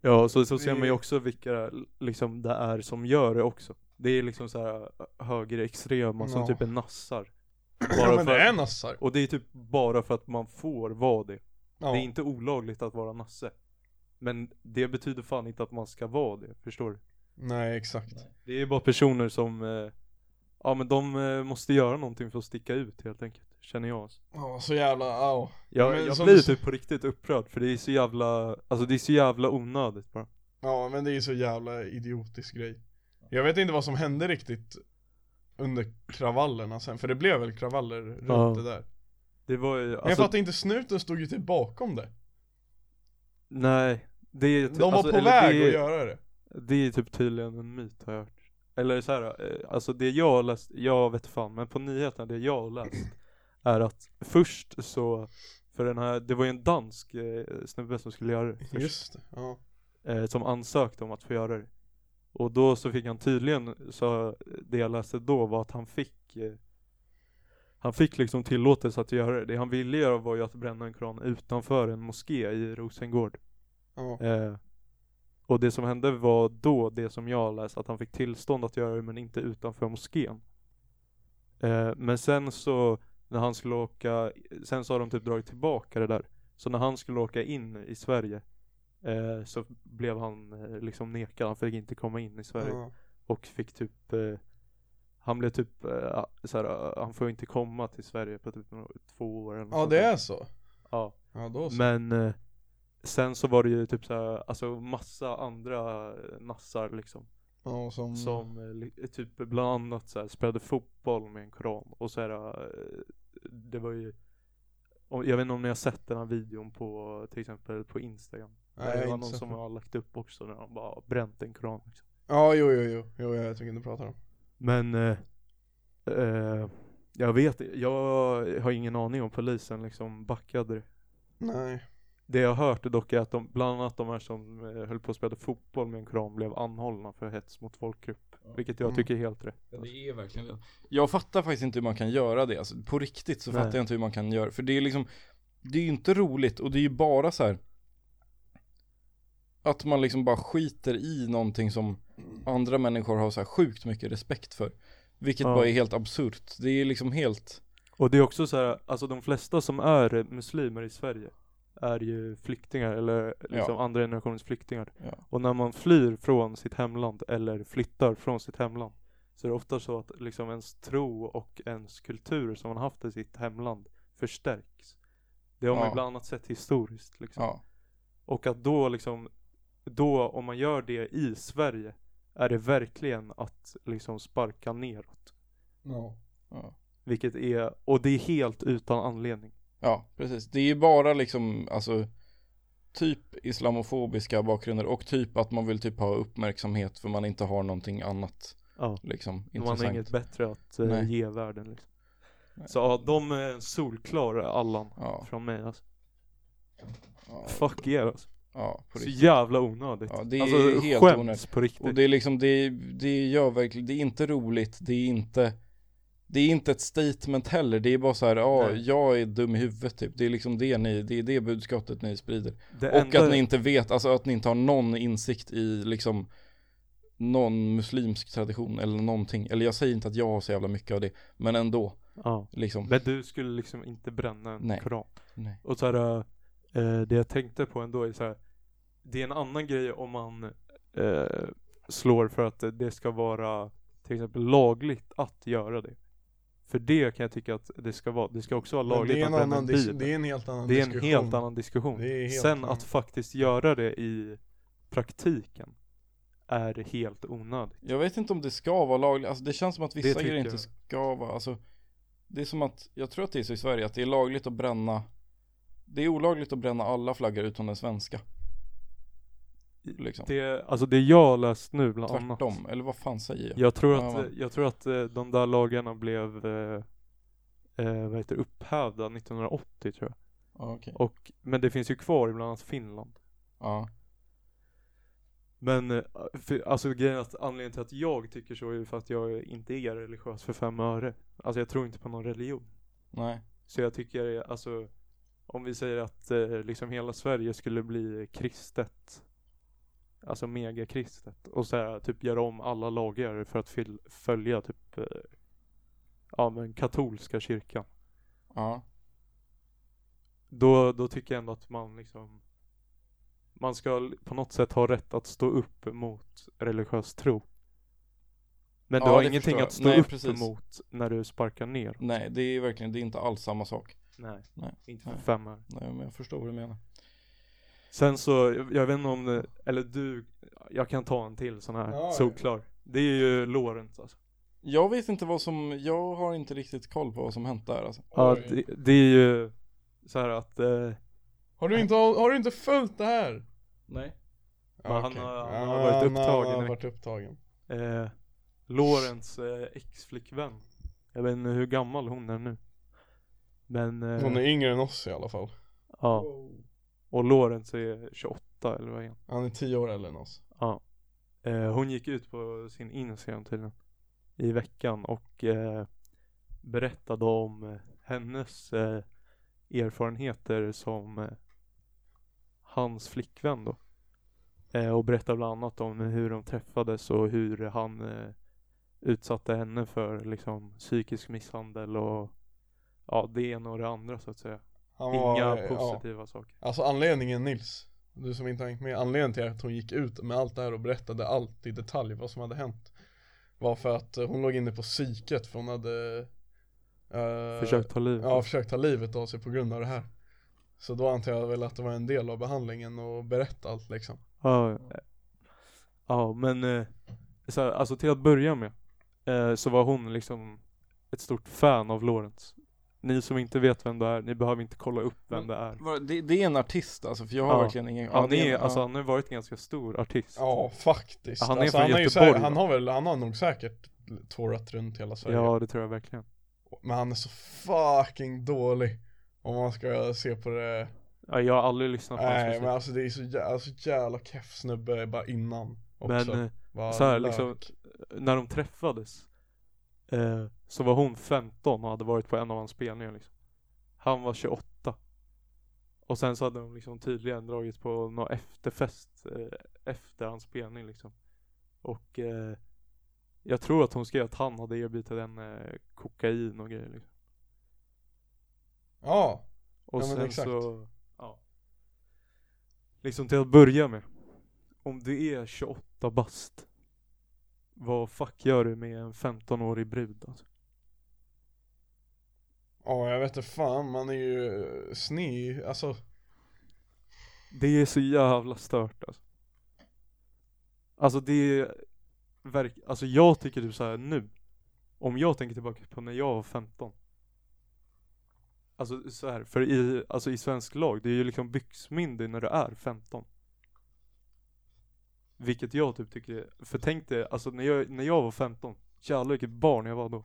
Ja, så, så ser
Det-
man ju också vilka liksom, det är som gör det också. Det är liksom så här högerextrema som
Ja.
typ är nassar.
ja men
för,
det är nassar.
och det är typ bara för att man får vara det.
Ja.
Det är inte olagligt att vara nasse. Men det betyder fan inte att man ska vara det, förstår du?
Nej exakt.
Det är bara personer som, eh, ja men de eh, måste göra någonting för att sticka ut helt enkelt, känner jag. alltså.
Ja så jävla, ja.
Jag,
Men
jag
som
blir
du-
typ på riktigt upprörd för det är så jävla, alltså det är så jävla onödigt bara.
Ja men det är så jävla idiotisk grej. Jag vet inte vad som hände riktigt under kravallerna sen, för det blev väl kravaller runt
Ja.
det där. Men
Det var ju,
jag
alltså,
fattar inte, snuten stod ju typ bakom det.
nej. Det är,
De var
alltså,
på
eller
väg
det,
att göra det.
Det är typ tydligen en myt har jag hört. Eller så här, eh, alltså det jag har läst, jag vet fan, men på nyheterna det jag har läst är att först så, för den här, det var ju en dansk eh, snubbe som skulle göra det. först.
Just det, ja.
eh, som ansökte om att få göra det. Och då så fick han tydligen, så det jag läste då var att han fick eh, han fick liksom tillåtelse att göra det. Det han ville göra var ju att bränna en koran utanför en moské i Rosengård.
ja.
Eh, och det som hände var då det som jag har läst, att han fick tillstånd att göra det men inte utanför moskén. Eh, men sen så när han skulle åka, sen så har de typ dragit tillbaka det där. Så när han skulle åka in i Sverige eh, så blev han eh, liksom nekad, han fick inte komma in i Sverige.
Ja.
Och fick typ eh, Han blev typ eh, såhär, eh, han får inte komma till Sverige på typ några- två år eller något
Ja
sånt
det
där.
är så?
Ja.
Ja då så.
Men eh, sen så var det ju typ såhär, alltså massa andra eh, nassar liksom.
ja, som...
Som eh, li- typ bland annat såhär spelade fotboll med en koran. Och såhär, eh, det var ju och jag vet inte om ni har sett den här videon på till exempel på Instagram.
Nej,
det
jag
var
har
någon
inte sett
som
det.
har lagt upp också när de bara bränt en koran. Liksom.
Ja jo jo jo, jo jag tycker inte du pratar om.
Men eh, eh, jag vet jag har ingen aning om polisen liksom backade det.
Nej.
Det jag har hört dock är att de, bland annat de här som eh, höll på att spela fotboll med en kram blev anhållna för hets mot folkgrupp. Vilket jag
Mm.
tycker är helt rätt.
Ja, det är verkligen det. Jag fattar faktiskt inte hur man kan göra det. Alltså, på riktigt så
Nej.
fattar jag inte hur man kan göra För det är liksom, det är ju inte roligt och det är ju bara så här. Att man liksom bara skiter i någonting som andra människor har så här sjukt mycket respekt för. Vilket
Ja.
bara är helt absurt. Det är liksom helt,
Och det är också så här, alltså de flesta som är eh, muslimer i Sverige är ju flyktingar eller liksom andra generationens flyktingar.
Ja.
Och när man flyr från sitt hemland eller flyttar från sitt hemland så är det ofta så att liksom ens tro och ens kultur som man haft i sitt hemland förstärks. Det har man
Ja.
ju bland annat sett historiskt. Liksom.
ja.
Och att då liksom, då om man gör det i Sverige är det verkligen att liksom sparka neråt.
Ja.
ja.
Vilket är, och det är helt utan anledning.
Ja, precis. Det är ju bara liksom, alltså typ islamofobiska bakgrunder och typ att man vill typ ha uppmärksamhet för man inte har någonting annat
Ja.
liksom
Man
intressant.
har inget bättre att eh,
Nej.
ge världen liksom.
Nej.
Så ja, de är en solklar Allan
Ja,
från mig alltså.
ja,
Fuck er alltså.
ja på
Så
riktigt.
jävla onödigt.
Ja, det är
alltså
helt
skäms
onödigt.
på riktigt.
Och det är liksom, det, det gör verkligen, det är inte roligt, det är inte det är inte ett statement heller, det är bara så här, ja,
Nej.
jag är dum i huvudet typ. Det är liksom det ni, det är det budskapet ni sprider.
Det
Och
enda-
att ni inte vet, alltså att ni inte har någon insikt i liksom någon muslimsk tradition eller någonting. Eller jag säger inte att jag har så jävla mycket av det, men ändå
ja.
liksom.
Men du skulle liksom inte bränna en
Nej.
koran.
Nej.
Och så här, eh, det jag tänkte på ändå är så här. Det är en annan grej om man eh, slår för att det ska vara till exempel lagligt att göra det. För det kan jag tycka att det ska vara. Det ska också vara
Men
lagligt
det är, en
att bränna
annan
en
dis-
bil.
det är en helt annan
Det är en
diskussion.
helt annan diskussion.
Det är helt
Sen
annan.
att faktiskt göra det i praktiken är helt onödigt.
Jag vet inte om det ska vara lagligt, alltså det känns som att vissa
tycker
grejer inte
jag.
ska vara, alltså Det är som att, jag tror att det är så i Sverige att det är lagligt att bränna Det är olagligt att bränna alla flaggor utom den svenska Liksom,
Det, alltså det jag har läst nu bland annat.
tvärtom, eller vad fan säger jag?
Jag tror
Ja,
att,
va.
jag tror att eh, de där lagarna blev eh, eh, vad heter det, upphävda 1980 tror jag.
Ja, okej
Och, men det finns ju kvar i bland annat Finland.
Ja,
Men eh, för, alltså grejen är att anledningen till att jag tycker så är ju för att jag inte är religiös för fem öre. Alltså jag tror inte på någon religion.
nej,
Så jag tycker eh, alltså om vi säger att eh, liksom hela Sverige skulle bli kristet. Alltså megakristet. Och så här, typ göra om alla lagar för att fyll, följa typ eh, ja men katolska kyrkan.
ja,
Då, då tycker jag ändå att man liksom man ska på något sätt ha rätt att stå upp mot religiös tro. Men du
Ja,
har
det
ingenting
förstår jag.
att stå
Nej,
upp
precis.
mot när du sparkar ner.
nej det är verkligen, det är inte alls samma sak
Nej,
Nej.
inte för
Nej.
fem öre.
Nej men jag förstår vad du menar
Sen så, jag- jag vet inte om det, eller du, jag kan ta en till sån här,
Ja, ja.
solklar. Det är ju Lorentz alltså.
Jag vet inte vad som, jag har inte riktigt koll på vad som hänt där alltså.
Ja,
Oj.
det, det är ju så här att eh,
Har du inte, har du inte följt det här?
Nej
Ja,
Men han
okej.
har- han
Ja,
har varit upptagen
Han
i
har varit upptagen.
eh, Lorentz eh, ex-flickvän, jag vet inte hur gammal hon är nu. Men, eh,
Hon är yngre än oss i alla fall.
ja. Och Lorentz är 28 eller vad är han?
Han är 10 år äldre än oss.
Ja. Eh, hon gick ut på sin Instagram tydligen i veckan och eh, berättade om eh, hennes eh, erfarenheter som eh, hans flickvän då. Eh, och berättade bland annat om hur de träffades och hur han eh, utsatte henne för liksom psykisk misshandel och ja det ena och det andra så att säga.
Han var,
Inga
eh,
positiva saker.
Ja. Alltså anledningen Nils, du som inte har hängt med, anledningen till att hon gick ut med allt det här och berättade allt i detalj vad som hade hänt var för att eh, hon låg inne på psyket för hon hade eh,
Försökt ta livet
Ja, försökt ta livet av sig på grund av det här. Så då antar jag väl att det var en del av behandlingen och berätta allt liksom.
Ja, eh, ja men eh, så här, alltså till att börja med eh, så var hon liksom ett stort fan av Lorentz. Ni som inte vet vem det är, ni behöver inte kolla upp vem
Men-
det är.
Det, det är en artist alltså, för jag har
Ja.
verkligen ingen
Han
det
är,
en-
alltså han har ju varit en ganska stor artist.
Ja, faktiskt.
Han är
alltså,
från
han, ju
Göteborg,
säkert, han
va?
har väl, han har nog säkert tvårat runt hela Sverige.
Ja, det tror jag verkligen.
Men han är så fucking dålig. Om man ska se på det.
Ja, jag har aldrig lyssnat på hans
Nej
musik.
men alltså det är så jävla, så jävla keff snubbe bara innan. Också.
Men eh,
Bara
så här,
lök.
liksom- när de träffades eh, så var hon 15 och hade varit på en av hans spelningar liksom. Han var 28. Och sen så hade de liksom tydligen dragit på någon efterfest eh, efter hans spelning liksom. Och eh, jag tror att hon skrev att han hade erbjudit henne eh, kokain och grejer liksom.
Ja,
Och
Ja, men
sen
exakt.
så, ja. Liksom till att börja med. Om du är 28 bast. Vad fuck gör du med en 15-årig brud alltså?
ja jag vet inte fan man är ju eh, sned, alltså
Det är så jävla stört alltså. Alltså det är verk- alltså jag tycker typ så här nu. Om jag tänker tillbaka på när jag var 15. Alltså så här, för i, alltså i svensk lag, det är ju liksom byxmyndig när du är 15. Vilket jag typ tycker, är- för tänk dig, alltså när jag, när jag var 15, jävlar vilket barn jag var då.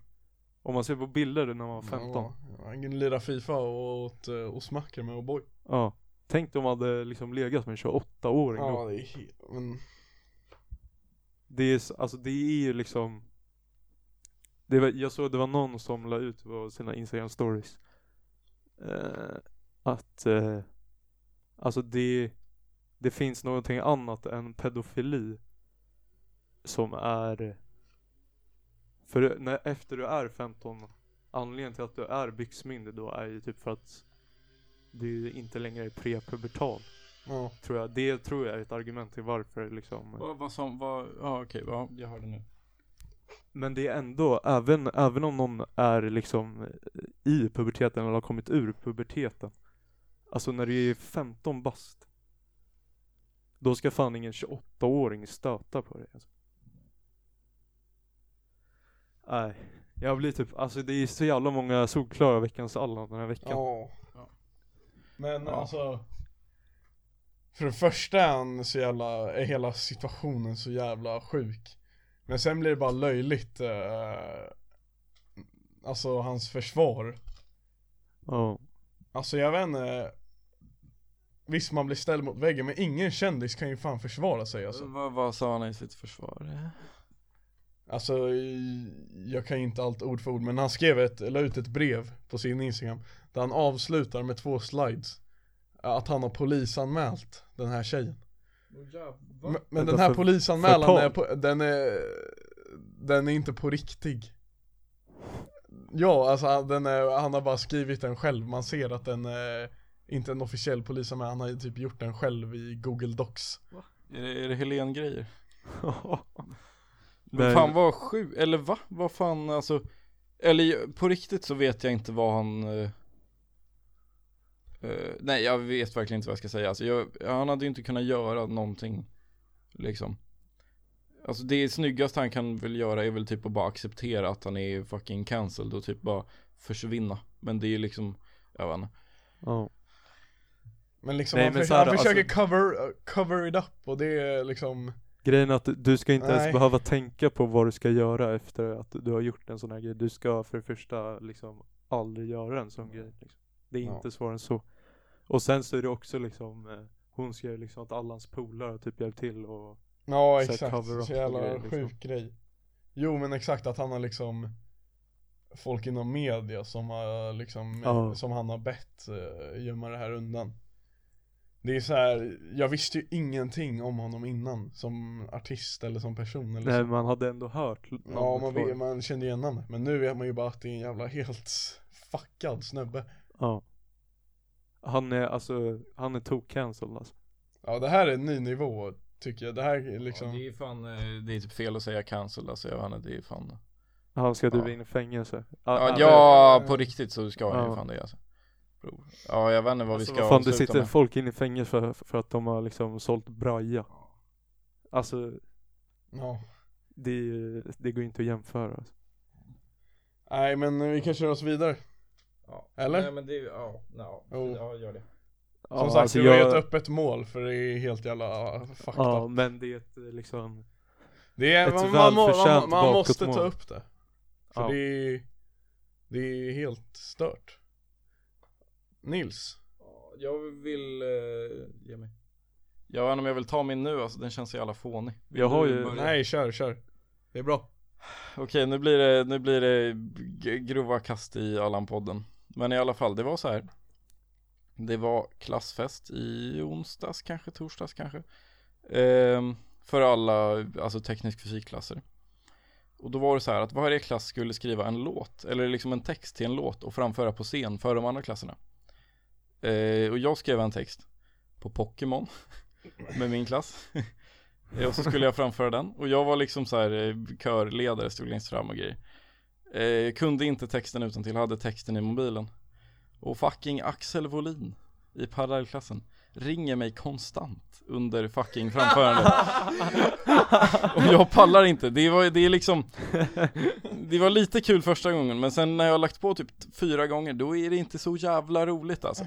Om man ser på bilder när man var 15.
ja, Han lirade FIFA och åt eh, ostmackor med O'boy
Ja. Tänk om man hade liksom legat med en 28-åring då.
Ja det är helt, men
Det är, s- alltså det är ju liksom det var, Jag såg det var någon som la ut på sina instagram stories eh, Att eh, Alltså det Det finns någonting annat än pedofili Som är För när, efter du är 15 Anledningen till att du är byxmyndig då är ju typ för att Du inte längre är prepubertal
ja.
Tror jag, det tror jag är ett argument till varför liksom
Vad, vad som, vad, ja okej, ja, jag hör det nu
Men det är ändå, även, även om någon är liksom i puberteten eller har kommit ur puberteten. Alltså när du är 15 bast. Då ska fan ingen 28-åring stöta på dig. Alltså. Nej, jag blir typ, alltså det är så jävla många solklara veckans Allan den här veckan.
Ja.
Ja.
Men
Ja.
alltså. För det första är, han så jävla, är hela situationen så jävla sjuk. Men sen blir det bara löjligt. Eh, alltså hans försvar.
Ja.
Alltså jag vet inte. Visst man blir ställd mot väggen men ingen kändis kan ju fan försvara sig alltså.
Vad, vad sa han i sitt försvar?
Alltså i- jag kan ju inte allt ord för ord men han skrev ett, eller ut ett brev på sin instagram. Där han avslutar med två slides. Att han har polisanmält den här tjejen.
Åh, jävlar.
Men, men
Vänta,
den här
för-
polisanmälan
förtal?
är på, den är, den är inte på riktig Ja, alltså han- den är, han har bara skrivit den själv, man ser att den är inte en officiell polisanmälan, han har ju typ gjort den själv i google docs
Är det, är det Helen-grejer? Men
Nej.
fan vad sju, eller va? Vad fan alltså Eller på riktigt så vet jag inte vad han eh, eh, Nej jag vet verkligen inte vad jag ska säga alltså, jag, Han hade ju inte kunnat göra någonting Liksom Alltså det snyggaste han kan väl göra är väl typ att bara acceptera att han är fucking cancelled och typ bara försvinna Men det är liksom, jag vet inte
Ja.
Men liksom
Nej,
han,
men
förs-
så här,
han
alltså-
försöker cover, cover it up och det är liksom
Grejen är att du ska inte
Nej.
ens behöva tänka på vad du ska göra efter att du har gjort en sån här grej. Du ska för det första liksom aldrig göra en sån grej. Liksom. Det är
Ja.
inte svårare än så. Och sen så är det också liksom, eh, hon skrev liksom att Allans polare typ hjälpt till och
Ja
Så här
exakt,
cover up
så jävla
och grejer, liksom.
sjuk grej Jo men exakt att han har liksom Folk inom media som har liksom,
Ja.
som han har bett uh, gömma det här undan Det är så här, jag visste ju ingenting om honom innan Som artist eller som person
Liksom.
eller
Nej
så
man hade ändå hört l-
Ja
namnet
man,
på
vet-
den.
man kände igen honom Men nu vet man ju bara att det är en jävla helt fuckad snubbe
Ja. Han är alltså, han är tok-cancelled alltså.
Ja det här är en ny nivå tycker jag, det här är liksom
ja, Det är fan, eh, det är typ fel att säga cancelled alltså jag vet inte, det är fan
Han ska
Ja.
driva in i fängelse.
Ja,
även-
ja på riktigt så ska jag ju
alltså, Ja.
fan det alltså. Bror. Ja jag vet inte vad
Alltså,
vi ska
vad fan, det
avsluta
sitter
med.
folk inne i fängelse för, för att de har liksom sålt braja. Alltså
ja.
det, är ju- det går ju inte att jämföra. Alltså.
Nej men vi kan köra oss vidare
Ja.
Eller?
Nej men det, ja, ja,
Jo.
ja gör det.
Ja,
Som sagt,
alltså
det var alltså, ju ett öppet mål för det är helt jävla uh, fucked
Ja,
up.
men det är ett, eh, liksom,
Det är,
ett
man, man, må- man,
välförtjänt
man måste
bakåtmål.
ta upp det. För
Ja.
det, är, det är helt stört. Nils,
Ja, Jag vill, eh, ge mig.
Jag vet inte om jag vill ta min nu alltså, den känns så jävla fånig. Vill
Jag har
du
ju-
börja?
nej kör, kör. Det är bra.
Okej nu blir det, nu blir det g- grova kast i Allan-podden. Men i alla fall, det var så här. Det var klassfest i onsdags kanske, torsdags kanske. Ehm, för alla, alltså teknisk fysikklasser. Och då var det så här att varje klass skulle skriva en låt, eller liksom en text till en låt och framföra på scen för de andra klasserna. Eh, och jag skrev en text på Pokémon med min klass. Eh, och så skulle jag framföra den. Och jag var liksom så här eh, körledare, stod längst fram och grejer. Eh, jag kunde inte texten utan till hade texten i mobilen. Och fucking Axel Wåhlin i parallellklassen ringer mig konstant under fucking framförandet. och jag pallar inte. Det var, det är liksom, det var lite kul första gången men sen när jag har lagt på typ t- fyra gånger då är det inte så jävla roligt alltså.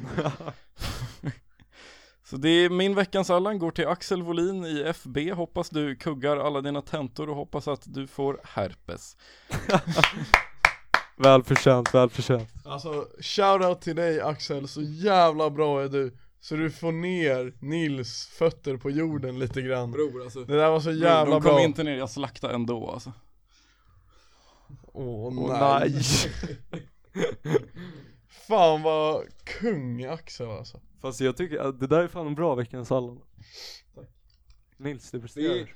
Så det är min veckans Allan går till Axel Wåhlin i FB, hoppas du kuggar alla dina tentor och hoppas att du får herpes.
välförtjänt, välförtjänt.
Alltså, shoutout till dig Axel, så jävla bra är du. Så du får ner Nils fötter på jorden lite grann.
Bror alltså.
Det där var så jävla
de kom
bra.
inte ner, jag slaktade ändå alltså.
Åh
Åh,
nej.
nej.
Fan vad kung Axel alltså.
Fast jag tycker att det där är fan en bra veckans Allan.
Tack.
Nils, du
Det-
presterar.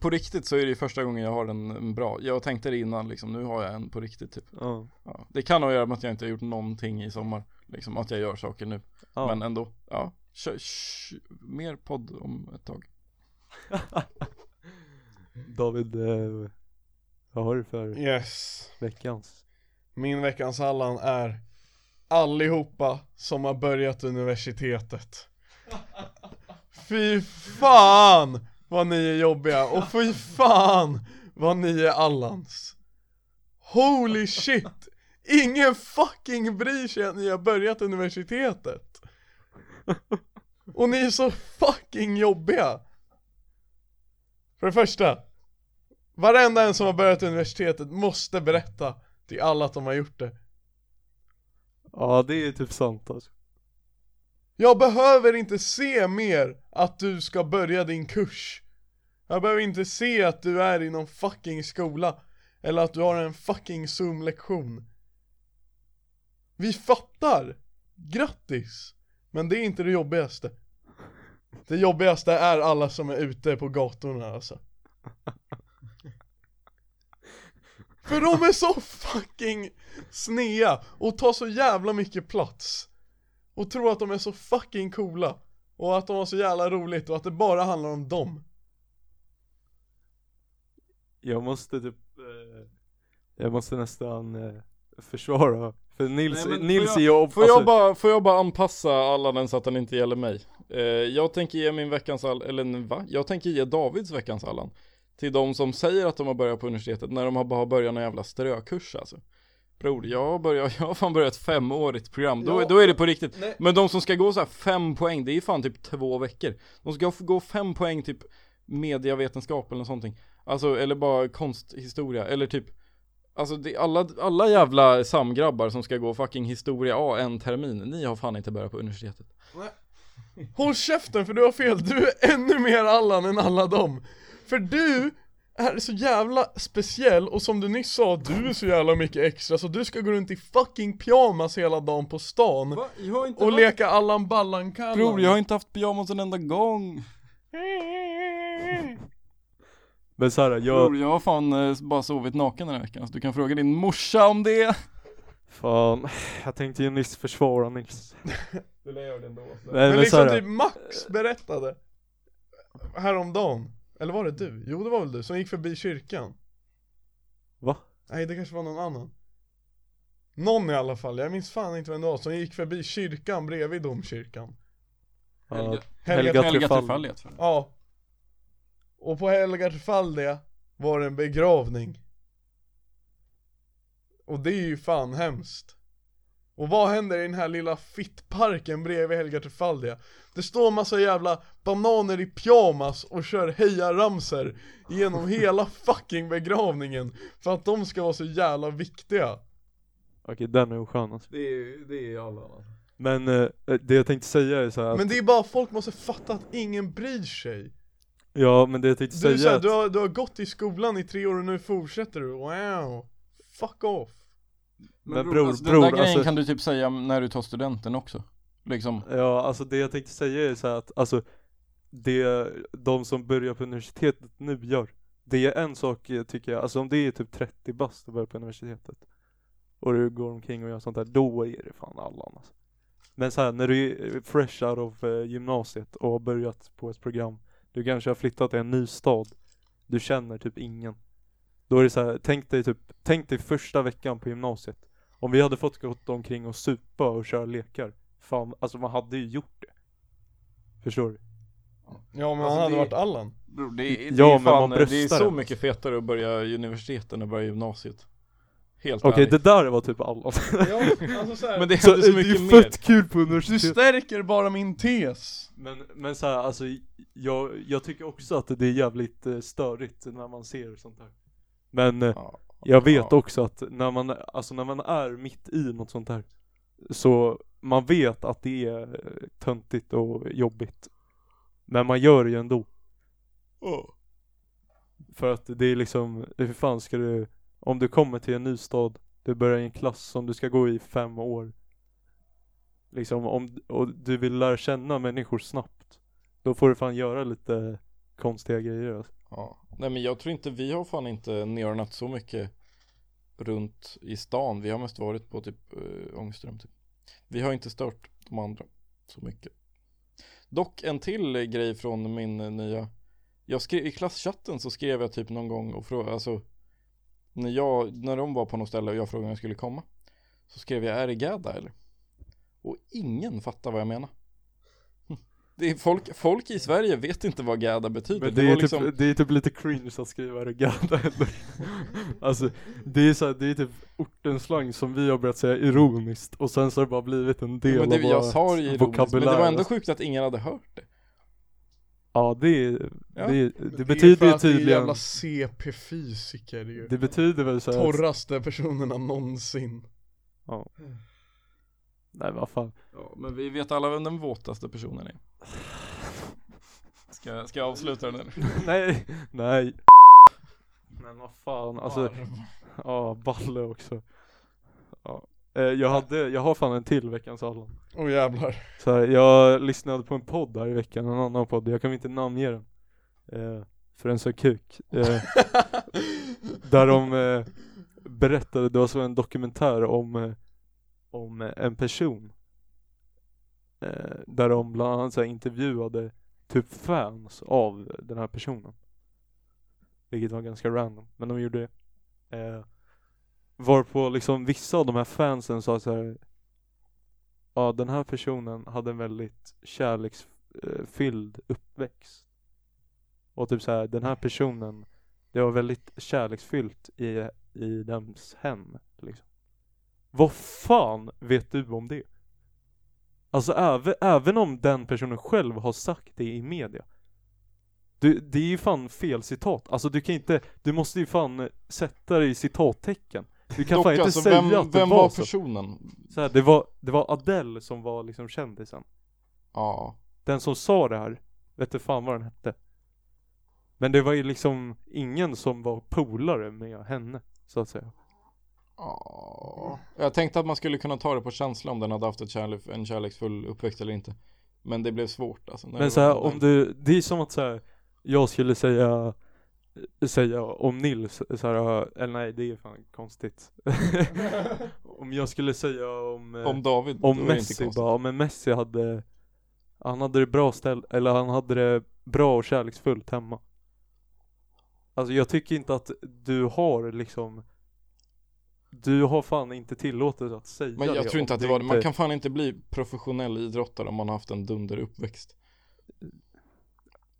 På riktigt så är det ju första gången jag har en, en bra, jag tänkte det innan liksom, nu har jag en på riktigt typ.
Ja.
Ja. Det kan ha göra med att jag inte har gjort någonting i sommar, liksom att jag gör saker nu.
Ja.
Men ändå, ja. Kör, sh, mer podd om ett tag.
David eh, Vad har du
Mm.
för
Yes.
veckans?
Min veckans Allan är allihopa som har börjat universitetet. Fy fan vad ni är jobbiga och fy fan vad ni är Allans. Holy shit! Ingen fucking bryr sig att ni har börjat universitetet. Och ni är så fucking jobbiga. För det första, varenda en som har börjat universitetet måste berätta till alla att de har gjort det.
Ja det är typ sant alltså.
Jag behöver inte se mer att du ska börja din kurs. Jag behöver inte se att du är i någon fucking skola. Eller att du har en fucking zoom-lektion. Vi fattar! Grattis! Men det är inte det jobbigaste. Det jobbigaste är alla som är ute på gatorna alltså. För de är så fucking snea och tar så jävla mycket plats och tror att de är så fucking coola och att de har så jävla roligt och att det bara handlar om dem.
Jag måste typ, eh, jag måste nästan eh, försvara. För Nils,
Nej, men
Nils är
får
alltså, jag,
Får,
Alltså-
jag bara, får jag bara anpassa alla den så att den inte gäller mig? Eh, jag tänker ge min veckans Allan, eller nej, va? Jag tänker ge Davids veckans Allan Till de som säger att de har börjat på universitetet när de har bara börjat någon jävla strökurs alltså Bror, jag, börjar, jag har fan börjat ett femårigt program, då,
Ja.
då är det på riktigt
Nej.
Men de som ska gå så här fem poäng, det är fan typ två veckor De ska få gå fem poäng typ mediavetenskap eller något sånt Alltså, eller bara konsthistoria, eller typ Alltså det, alla, alla jävla samgrabbar som ska gå fucking historia A en termin, ni har fan inte börjat på universitetet
Håll käften för du har fel, du är ännu mer Allan än alla dem. För du är så jävla speciell och som du nyss sa, du är så jävla mycket extra så du ska gå runt i fucking pyjamas hela dagen på stan
Jag har inte
och leka Allan Ballan-Kallan.
Bror, jag har inte haft pyjamas en enda gång
Men såhär,
Bror,
jag,
jag har fan eh, bara sovit naken den här veckan så du kan fråga din morsa om det
fan, jag tänkte ju nyss försvara Nils.
Du lär göra det ändå. Så.
Nej
Men
men,
liksom
såhär,
typ Max berättade häromdagen, eller var det du? Jo det var väl du, som gick förbi kyrkan.
va?
Nej det kanske var någon annan Någon i alla fall, jag minns fan inte vem det var som gick förbi kyrkan bredvid domkyrkan
Ja,
Helga,
Helga
Helga
Trefall.
Trefaldiet för
Ja Och på Helga Trefaldia var det en begravning Och det är ju fan hemskt Och vad händer i den här lilla fittparken bredvid Helga Trefaldia? Det står massa jävla bananer i pyjamas och kör hejaramsor genom hela fucking begravningen För att de ska vara så jävla viktiga
okej den är oskön alltså.
Det är ju det är ju alla.
alltså.
va?
Men eh, det jag tänkte säga är såhär,
Men det är bara folk måste fatta att ingen bryr sig
ja men det jag tänkte
Du, är
säga
så
är
här,
att,
du, har, du har gått i skolan i tre år och nu fortsätter du, wow Fuck off
Men bror,
alltså,
bror,
Den där grejen
alltså-
kan du typ säga när du tar studenten också Liksom
Ja, alltså det jag tänkte säga är så här att alltså det de som börjar på universitetet nu gör, det är en sak eh, tycker jag, alltså om det är typ 30 bast och börjar på universitetet och du går omkring och gör sånt där, då är det fan Allan alltså. Men så här, när du är fresh out of eh, gymnasiet och har börjat på ett program, du kanske har flyttat till en ny stad, du känner typ ingen. Då är det så här, tänk dig typ, tänk dig första veckan på gymnasiet. Om vi hade fått gått omkring och supa och köra lekar, fan, alltså man hade ju gjort det. Förstår du?
Ja men
Alltså,
han hade
det-
varit Allan
Bror, det, det,
Ja,
är
men man
fan, eh, det är
bröstar
så
den.
mycket fetare att börja universiteten än att börja gymnasiet Helt
Okej,
ärligt
det där var typ Allan.
Ja, alltså så
Men det
Så, eh,
händer så
det är
mycket
ju
mer
fett kul på
Du
universitetet.
stärker bara min tes
Men, men så här, alltså jag, jag tycker också att det är jävligt eh, störigt när man ser sånt här. Men eh,
Ja.
jag vet
Ja.
också att när man, alltså när man är mitt i något sånt här så man vet att det är eh, töntigt och jobbigt. Men man gör det ju ändå. För att det är liksom, hur fan ska du, om du kommer till en ny stad, du börjar i en klass som du ska gå i fem år. Liksom om, och du vill lära känna människor snabbt, då får du fan göra lite konstiga grejer. alltså.
Ja. Nej men jag tror inte, vi har fan inte neonat så mycket runt i stan. Vi har mest varit på typ äh, Ångström typ. Vi har inte stört de andra så mycket. Dock en till eh, grej från min eh, nya, jag skrev, i klasschatten så skrev jag typ någon gång och frågade, alltså när, jag, när de var på något ställe och jag frågade om jag skulle komma Så skrev jag är det Gadda eller? Och ingen fattar vad jag menar Hm. det är folk, folk i Sverige vet inte vad Gadda betyder
Men
det,
det är,
var
typ,
liksom
det är typ lite cringe att skriva regatta eller? Alltså det är så här, det är typ ortens slang som vi har börjat säga ironiskt och sen så har det bara blivit en del
men det,
av
Jag sa det ju ironiskt, men det var
vokabulär,
ändå
alltså.
sjukt att ingen hade hört det
Ja det är,
Ja.
det, är,
Men
det
är för
betyder ju
att det är
tydligen
jävla CP-fysiker ju
Det betyder väl såhär att,
Torraste personerna någonsin
nej vad fan
Ja, men vi vet alla vem den våtaste personen är Ska, ska jag avsluta den eller?
Nej, nej Men vad fan alltså Ja, balle också ja. Eh, Jag hade, jag har fan en till veckans Allan
Åh jävlar
Så här, jag lyssnade på en podd här i veckan, en annan podd, jag kan inte namnge den eh, För den sa kuk eh, Där de eh, berättade, det var så en dokumentär om, eh, om eh, en person eh, Där de bland annat så här, intervjuade typ fans av den här personen Vilket var ganska random, men de gjorde det eh, Varpå liksom vissa av de här fansen sa så här ja den här personen hade en väldigt kärleksfylld eh, uppväxt. Och typ så här, den här personen, det var väldigt kärleksfyllt i, i dems hem. Liksom. Vad fan vet du om det? Alltså även, även om den personen själv har sagt det i media. Du, det är ju fan fel citat. Alltså du kan inte, du måste ju fan sätta det i citattecken. Du kan
Dock
fan inte
alltså,
säga
vem,
att det
vem
var,
var
så.
personen?
Så här, det, var, det var Adele som var liksom kändisen.
Ja,
Den som sa det här, vet du fan vad den hette. Men det var ju liksom ingen som var polare med henne, så att säga.
Ja. Jag tänkte att man skulle kunna ta det på känsla om den hade haft ett kärlek, en kärleksfull uppväxt eller inte. Men det blev svårt alltså. när
Men
det
så
var-
här, om du, det är som att så här, jag skulle säga, säga om Nils, så här, "Äh, eller nej det är fan konstigt. om jag skulle säga om, eh,
Om David,
om
då är det inte
Messi
konstigt.
bara, ja, men Messi hade, han hade det bra ställ, eller han hade det bra och kärleksfullt hemma. Alltså jag tycker inte att du har liksom, du har fan inte tillåtelse att säga
Men jag
det
tror inte
om
att det var det. Man
inte-
kan fan inte bli professionell idrottare om man har haft en dunder uppväxt.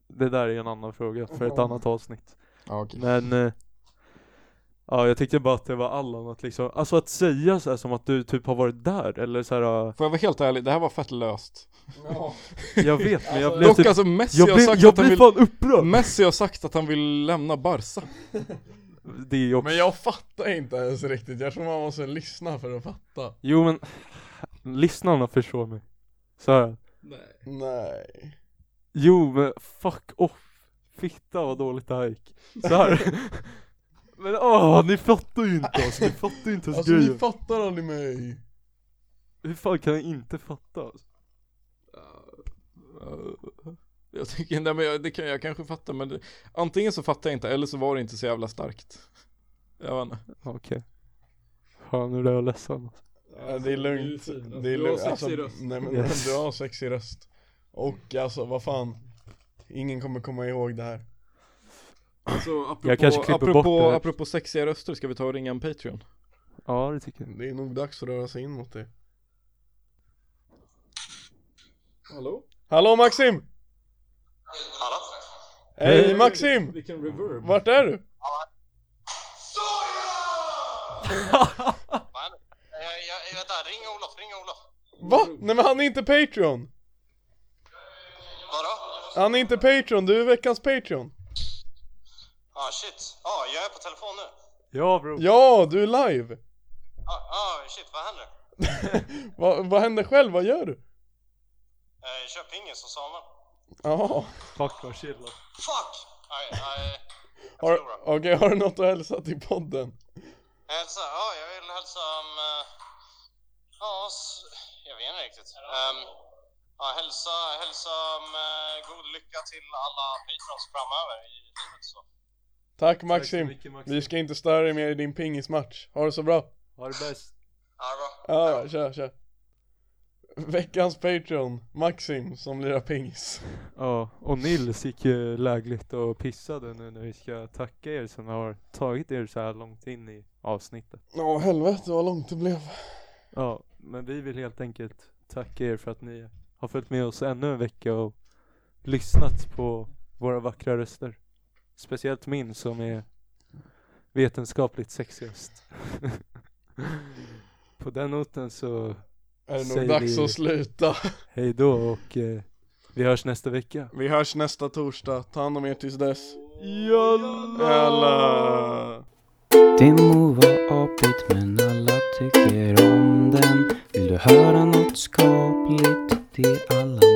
Det där är en annan fråga för ett annat avsnitt.
Ja, okej.
Men, eh, ja jag tyckte bara att det var Allan att liksom, alltså att säga så här som att du typ har varit där eller så här. eh,
Får jag vara helt ärlig, det här var fett löst.
Ja.
jag vet men jag
Alltså,
blev
Dock
typ,
alltså Messi
jag
har
blev,
sagt
jag
att han
blev
vill
fan upprörd!
Messi har sagt att han vill lämna Barca.
Det är också
Men jag fattar inte ens riktigt, jag tror man måste lyssna för att fatta
Jo men, lyssnarna förstår mig. Så här.
Nej.
Nej
jo men fuck off. Fitta vad dåligt det här gick. Så här. men åh, ni fattar ju inte alltså, ni fattar ju inte ens
Alltså
grejen.
ni fattar aldrig mig
Hur fan kan jag inte fatta? Alltså?
Jag tycker, nej men jag, det kan jag kanske fatta men det, antingen så fattar jag inte eller så var det inte så jävla starkt. Jag vet inte.
Okej. Fan nu blev jag ledsen. alltså.
Ja, det är lugnt, det är lugnt. Alltså, nej, men,
Yes.
Du har en sexig röst Och alltså vad fan Ingen kommer komma ihåg det här
Så alltså, apropå,
Jag kanske klipper
apropå,
bort det där.
apropå sexiga röster ska vi ta och ringa en Patreon?
Ja det tycker jag.
Det är nog dags att röra sig in mot det
Hallå?
Hallå Maxim!
Hallå?
Hej Maxim!
Vilken reverb?
Vart är du?
Soja! Man, eh, jag, jag, vänta, ring Olof, ring Olof.
Va? Nej men han är inte Patreon!
Vadå?
Han är inte Patreon, du är veckans Patreon
Ah, shit. ah, jag är på telefon nu.
Ja bro.
Ja, du är live!
ah, ah, shit, vad händer?
Va, vad händer själv, vad gör du?
Eh, jag kör pingis och Samuel.
Ja,
Fuck vad chill. alltså.
Fuck! Nej, nej. Jag
har,
förlorar.
okej har du något att hälsa till podden?
Jag hälsar, ja, jag vill hälsa om... eh, Ja, s- jag vet inte riktigt. Ehm, ja, hälsa, hälsa om eh, god lycka till alla patrons framöver i livet så.
Tack
Tack så
Maxim,
mycket, Maxim.
vi ska inte störa dig mer i din pingismatch, ha det så bra!
Ha det bäst.
Ja, det är bra.
Ja, kör, kör Veckans Patreon, Maxim som lirar pingis.
Ja, och Nils gick ju lägligt och pissade nu när vi ska tacka er som har tagit er så här långt in i avsnittet.
Ja helvete vad långt det blev.
Ja, men vi vill helt enkelt tacka er för att ni har följt med oss ännu en vecka och lyssnat på våra vackra röster. Speciellt min som är vetenskapligt sexigast. på den noten så
Är det nog
Säg
dags
det.
att sluta.
hej då och eh, vi hörs nästa vecka.
Vi hörs nästa torsdag, ta hand om er tills dess.
Jalla!
Alla.
Det må vara apigt men alla tycker om den. Vill du höra något skapligt? Det är alla